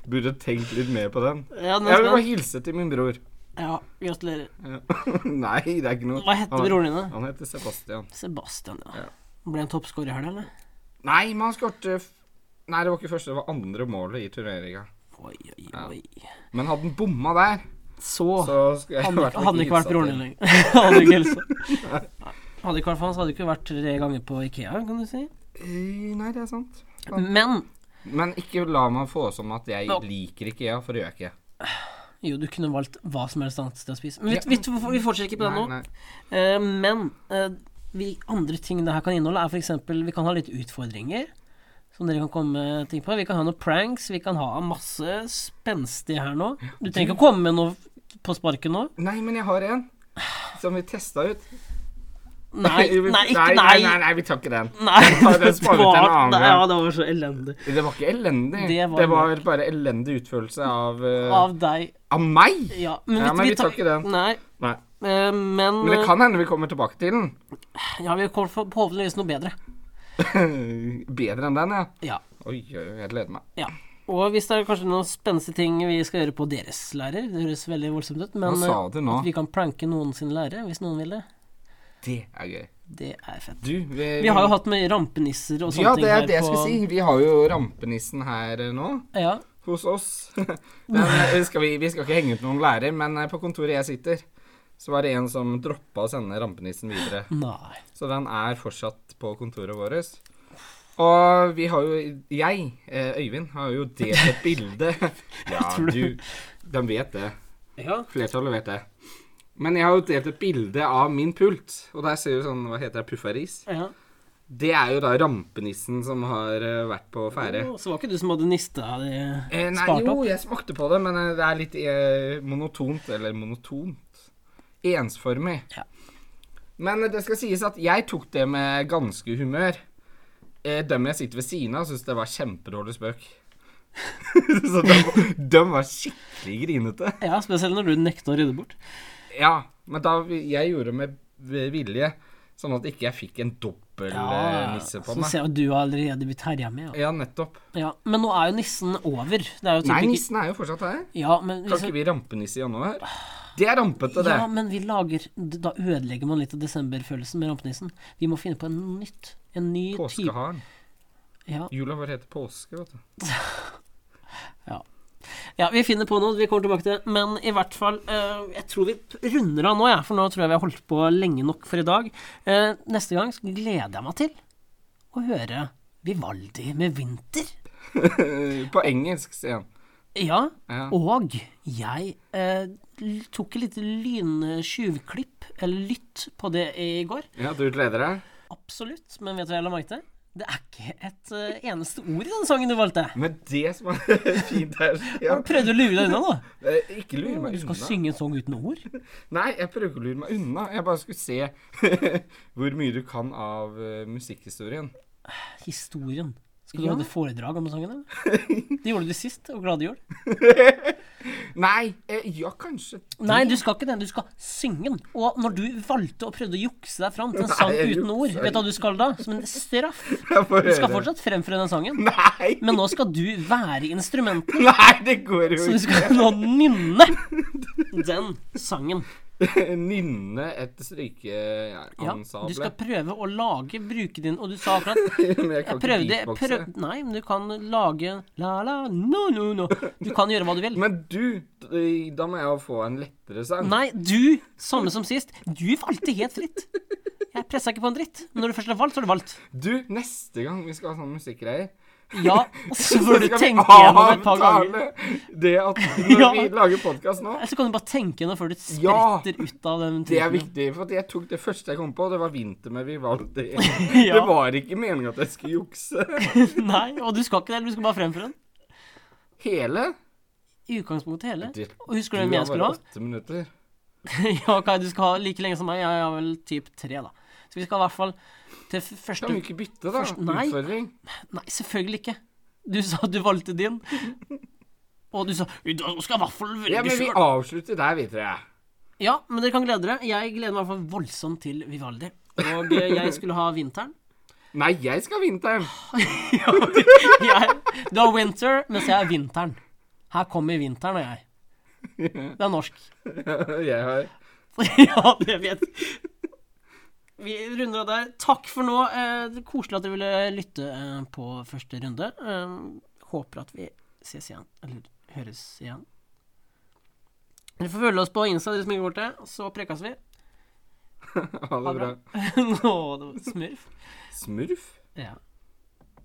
Speaker 2: Burde tenkt litt mer på den.
Speaker 1: Ja, den
Speaker 2: Jeg
Speaker 1: er
Speaker 2: vil bare
Speaker 1: spennende.
Speaker 2: hilse til min bror.
Speaker 1: ja, gratulerer.
Speaker 2: Ja. *laughs* Nei, det er ikke noe
Speaker 1: Hva heter
Speaker 2: Han-
Speaker 1: broren din, da?
Speaker 2: Han heter Sebastian.
Speaker 1: Sebastian, ja. Ble han toppskårer i helga, eller?
Speaker 2: Nei, men han skårte f- Nei, det var ikke første, det var andre målet i turneringa.
Speaker 1: Oi, oi, oi.
Speaker 2: Men hadde han bomma der,
Speaker 1: Så,
Speaker 2: så skulle jeg i
Speaker 1: hadde
Speaker 2: hvert fall
Speaker 1: hadde han ikke vært
Speaker 2: hilsa
Speaker 1: broren
Speaker 2: til.
Speaker 1: din *laughs* lenger. hadde ikke hilsa. Hadde ikke vært for han, så hadde det ikke vært tre ganger på Ikea, kan du si.
Speaker 2: Eh, Nei, det er sant.
Speaker 1: Men
Speaker 2: Men ikke la meg få som at jeg
Speaker 1: Nå.
Speaker 2: liker IKEA, for det gjør jeg ikke.
Speaker 1: jo, du kunne valgt hva som helst annet sted å spise. Men vi, vi, vi fortsetter ikke på det nå.
Speaker 2: Nei, nei.
Speaker 1: Eh, men eh, vi andre ting det her kan inneholde, er f.eks. vi kan ha litt utfordringer. Som dere kan komme med ting på. Vi kan ha noen pranks. Vi kan ha masse spenstig her nå. Du trenger ikke å komme med noe på sparket nå.
Speaker 2: Nei, men jeg har en som vi testa ut. *laughs*
Speaker 1: Nei,
Speaker 2: Vi-
Speaker 1: nei, ikke
Speaker 2: nei, nei, nei,
Speaker 1: nei.
Speaker 2: nei, vi tar ikke den. *laughs*
Speaker 1: Nei,
Speaker 2: Ta den
Speaker 1: det
Speaker 2: sparer vi til en
Speaker 1: var,
Speaker 2: annen
Speaker 1: nei,
Speaker 2: gang.
Speaker 1: ja, det var så elendig.
Speaker 2: Det var ikke elendig.
Speaker 4: Det
Speaker 2: Det
Speaker 4: var-
Speaker 2: var, bare elendig utførelse av eh, av,
Speaker 4: Av deg.
Speaker 2: meg!
Speaker 1: Ja,
Speaker 2: Ja, men vi tar ikke den.
Speaker 1: Nei,
Speaker 2: Nei.
Speaker 1: eh, men, eh,
Speaker 2: Men det kan hende vi kommer tilbake til den. *laughs*
Speaker 1: Ja, vi kommer for- forhåpentligvis noe bedre.
Speaker 2: Bedre enn den, ja.
Speaker 1: Ja.
Speaker 2: Oi, oi, oi, jeg gleder meg.
Speaker 1: ja. Og hvis det er kanskje noen spennende ting vi skal gjøre på deres lærer, det høres veldig voldsomt ut, men
Speaker 2: Hva sa
Speaker 1: eh,
Speaker 2: du nå?
Speaker 1: at vi kan pranke noen sin lærer, hvis noen vil det,
Speaker 2: Det er gøy.
Speaker 1: det er fett.
Speaker 2: Du, vi,
Speaker 1: Vi har jo hatt med rampenisser og sånne
Speaker 2: Ja,
Speaker 1: ting
Speaker 2: det
Speaker 1: her
Speaker 2: er det jeg
Speaker 1: på
Speaker 2: skulle si. Vi har jo rampenissen her eh, nå.
Speaker 1: Ja,
Speaker 2: Hos oss. *laughs* Ja, men skal vi, vi skal ikke henge ut noen lærer, men eh, på kontoret jeg sitter, så var det en som droppa å sende rampenissen videre.
Speaker 1: Nei.
Speaker 2: Så den er fortsatt på kontoret vårt. Og vi har jo Jeg, eh, Øyvind, har jo delt et bilde.
Speaker 1: *laughs*
Speaker 2: Ja, du De vet det.
Speaker 1: Ja.
Speaker 2: Flertallet vet det. Men jeg har jo delt et bilde av min pult, og der ser du sånn Hva heter det? Puffaris?
Speaker 1: ja.
Speaker 2: Det er jo da rampenissen som har eh, vært på ferde.
Speaker 1: Å, Så var ikke du som hadde nista de
Speaker 2: Eh, nei,
Speaker 1: spart
Speaker 2: jo,
Speaker 1: opp?
Speaker 2: jeg smakte på det, men eh, det er litt eh, monotont. Eller monotont Ensformig.
Speaker 1: Ja.
Speaker 2: Men eh, det skal sies at jeg tok det med ganske humør. Eh, dem jeg sitter ved siden av, syns det var kjempedårlig spøk. *laughs* Så de, de var skikkelig grinete.
Speaker 1: Ja, spesielt når du nekta å rydde bort.
Speaker 2: Ja, men da jeg gjorde det med vilje, sånn at ikke jeg fikk en dobbel eh, nisse på
Speaker 1: så
Speaker 2: meg.
Speaker 1: ser jeg at du har allerede blitt herja med. Ja.
Speaker 2: Ja, nettopp.
Speaker 1: Ja, men nå er jo nissen over. Det er jo typ
Speaker 2: Nei,
Speaker 1: ikke-
Speaker 2: nissen er jo fortsatt her.
Speaker 1: Ja, men
Speaker 2: Kan ikke vi rampenisse i januar? Det er rampete, det.
Speaker 1: ja, men vi lager Da ødelegger man litt av desemberfølelsen med rampenissen. Vi må finne på en nytt. En ny type
Speaker 2: Påskeharen.
Speaker 1: Ja.
Speaker 2: Jula bare heter påske, vet du.
Speaker 1: ja, vi finner på noe. Vi kommer tilbake til det. Men i hvert fall eh, Jeg tror vi p- runder av nå, jeg. For nå tror jeg vi har holdt på lenge nok for i dag. Eh, neste gang så gleder jeg meg til å høre Vivaldi med 'Vinter'.
Speaker 2: *laughs* På engelsk, sier han.
Speaker 1: Ja.
Speaker 2: Ja.
Speaker 1: Og jeg eh, l- tok et lite lyntjuvklipp, eller lytt, på det i går.
Speaker 2: ja, du gleder deg?
Speaker 1: Absolutt, men vet du hva jeg la merke til? Det er ikke et eh, eneste ord i den sangen du valgte.
Speaker 2: Men det som er *laughs* fint her ja.
Speaker 1: Har du prøvd å lure deg
Speaker 2: *laughs*
Speaker 1: unna, da?
Speaker 2: eh, Ikke lure
Speaker 1: Du
Speaker 2: meg
Speaker 1: skal
Speaker 2: unna.
Speaker 1: synge en sang uten ord?
Speaker 2: Nei, jeg prøver ikke å lure meg unna. Jeg bare skulle se *laughs* hvor mye du kan av eh, musikkhistorien.
Speaker 1: Historien. Skal du
Speaker 2: Ja.
Speaker 1: holde foredrag om sangen, eller?
Speaker 2: *laughs*
Speaker 1: Det gjorde du sist, og glade jul.
Speaker 2: Nei, eh, ja, kanskje
Speaker 1: Nei, du skal ikke det. Du skal synge den. Og når du valgte og prøvde å jukse deg fram til en
Speaker 2: Nei,
Speaker 1: sang
Speaker 2: jeg
Speaker 1: uten ord,
Speaker 2: juksa
Speaker 1: vet du hva du skal da? Som en straff.
Speaker 2: Jeg får
Speaker 1: Du skal
Speaker 2: høre.
Speaker 1: fortsatt fremføre den sangen,
Speaker 2: *laughs* Nei!
Speaker 1: men nå skal du være instrumenten.
Speaker 2: Nei, det går jo
Speaker 1: Så du
Speaker 2: ikke.
Speaker 1: skal nå nynne den sangen.
Speaker 2: *laughs* Nynne et
Speaker 1: Ja,
Speaker 2: strykeensemble.
Speaker 1: du skal prøve å lage, bruke din Og du sa akkurat
Speaker 2: *laughs* Men jeg kan
Speaker 1: jeg
Speaker 2: ikke
Speaker 1: prøvde, jeg
Speaker 2: beatboxe.
Speaker 1: prøv, Nei, men du kan lage la la no no no. Du kan gjøre hva du vil.
Speaker 2: Men du, da må jeg jo få en lettere sang.
Speaker 1: Nei, du, samme som sist, du valgte helt fritt. Jeg pressa ikke på en dritt. Men når du først har valgt, så har du valgt.
Speaker 2: Du, neste gang vi skal ha sånne musikkgreier
Speaker 1: Ja, og så bør du
Speaker 2: skal vi
Speaker 1: tenke gjennom et par ganger.
Speaker 2: avtale Det
Speaker 1: *laughs*
Speaker 2: at når
Speaker 1: Ja.
Speaker 2: vi lager podkast nå
Speaker 1: Eller så kan du bare tenke gjennom før du
Speaker 2: Ja,
Speaker 1: spretter ut av den
Speaker 2: det er
Speaker 1: tweeten.
Speaker 2: viktig, for at jeg tok det første jeg kom på, det var 'Vinter med Vivaldi'.
Speaker 1: *laughs* Ja.
Speaker 2: Det var ikke meninga at jeg skulle jukse.
Speaker 1: Nei, og du skal ikke det. eller Du skal bare fremføre den.
Speaker 2: Hele?
Speaker 1: I utgangspunktet hele.
Speaker 2: Det-
Speaker 1: Og husker du hvem jeg
Speaker 2: har
Speaker 1: skulle
Speaker 2: bare
Speaker 1: ha?
Speaker 2: åtte minutter.
Speaker 1: *laughs* Ja, Kai, du skal ha like lenge som meg. Jeg har vel typ tre, da. Så vi skal i hvert fall til f- første
Speaker 2: Kan vi ikke bytte, da?
Speaker 1: Først- nei.
Speaker 2: Utfordring.
Speaker 1: Nei, selvfølgelig ikke. Du sa at du valgte din. Og du sa «Du skal i hvert fall velge
Speaker 2: Ja, men vi
Speaker 1: sjøl.
Speaker 2: avslutter der, vi tre.
Speaker 1: Ja, men dere kan glede dere. Jeg gleder meg i hvert fall voldsomt til Vivaldi. Og eh, jeg skulle ha
Speaker 2: *laughs*
Speaker 1: vinteren.
Speaker 2: Nei, jeg skal ha
Speaker 1: *laughs*
Speaker 2: vinteren. *laughs*
Speaker 1: Jeg, du har winter, mens jeg har vinteren. Her kommer vinteren og jeg. Det er norsk.
Speaker 2: Jeg har
Speaker 1: *laughs* Ja, det vet Vi runder av der. Takk for nå. Eh, det er koselig at dere ville lytte eh, på første runde. Eh, håper at vi ses igjen, eller høres igjen. Dere får følge oss på Insta, dere som ikke går til, så prekas vi.
Speaker 2: Ha det bra.
Speaker 1: *laughs* Nå, det var smurf.
Speaker 2: Smurf?
Speaker 1: Ja.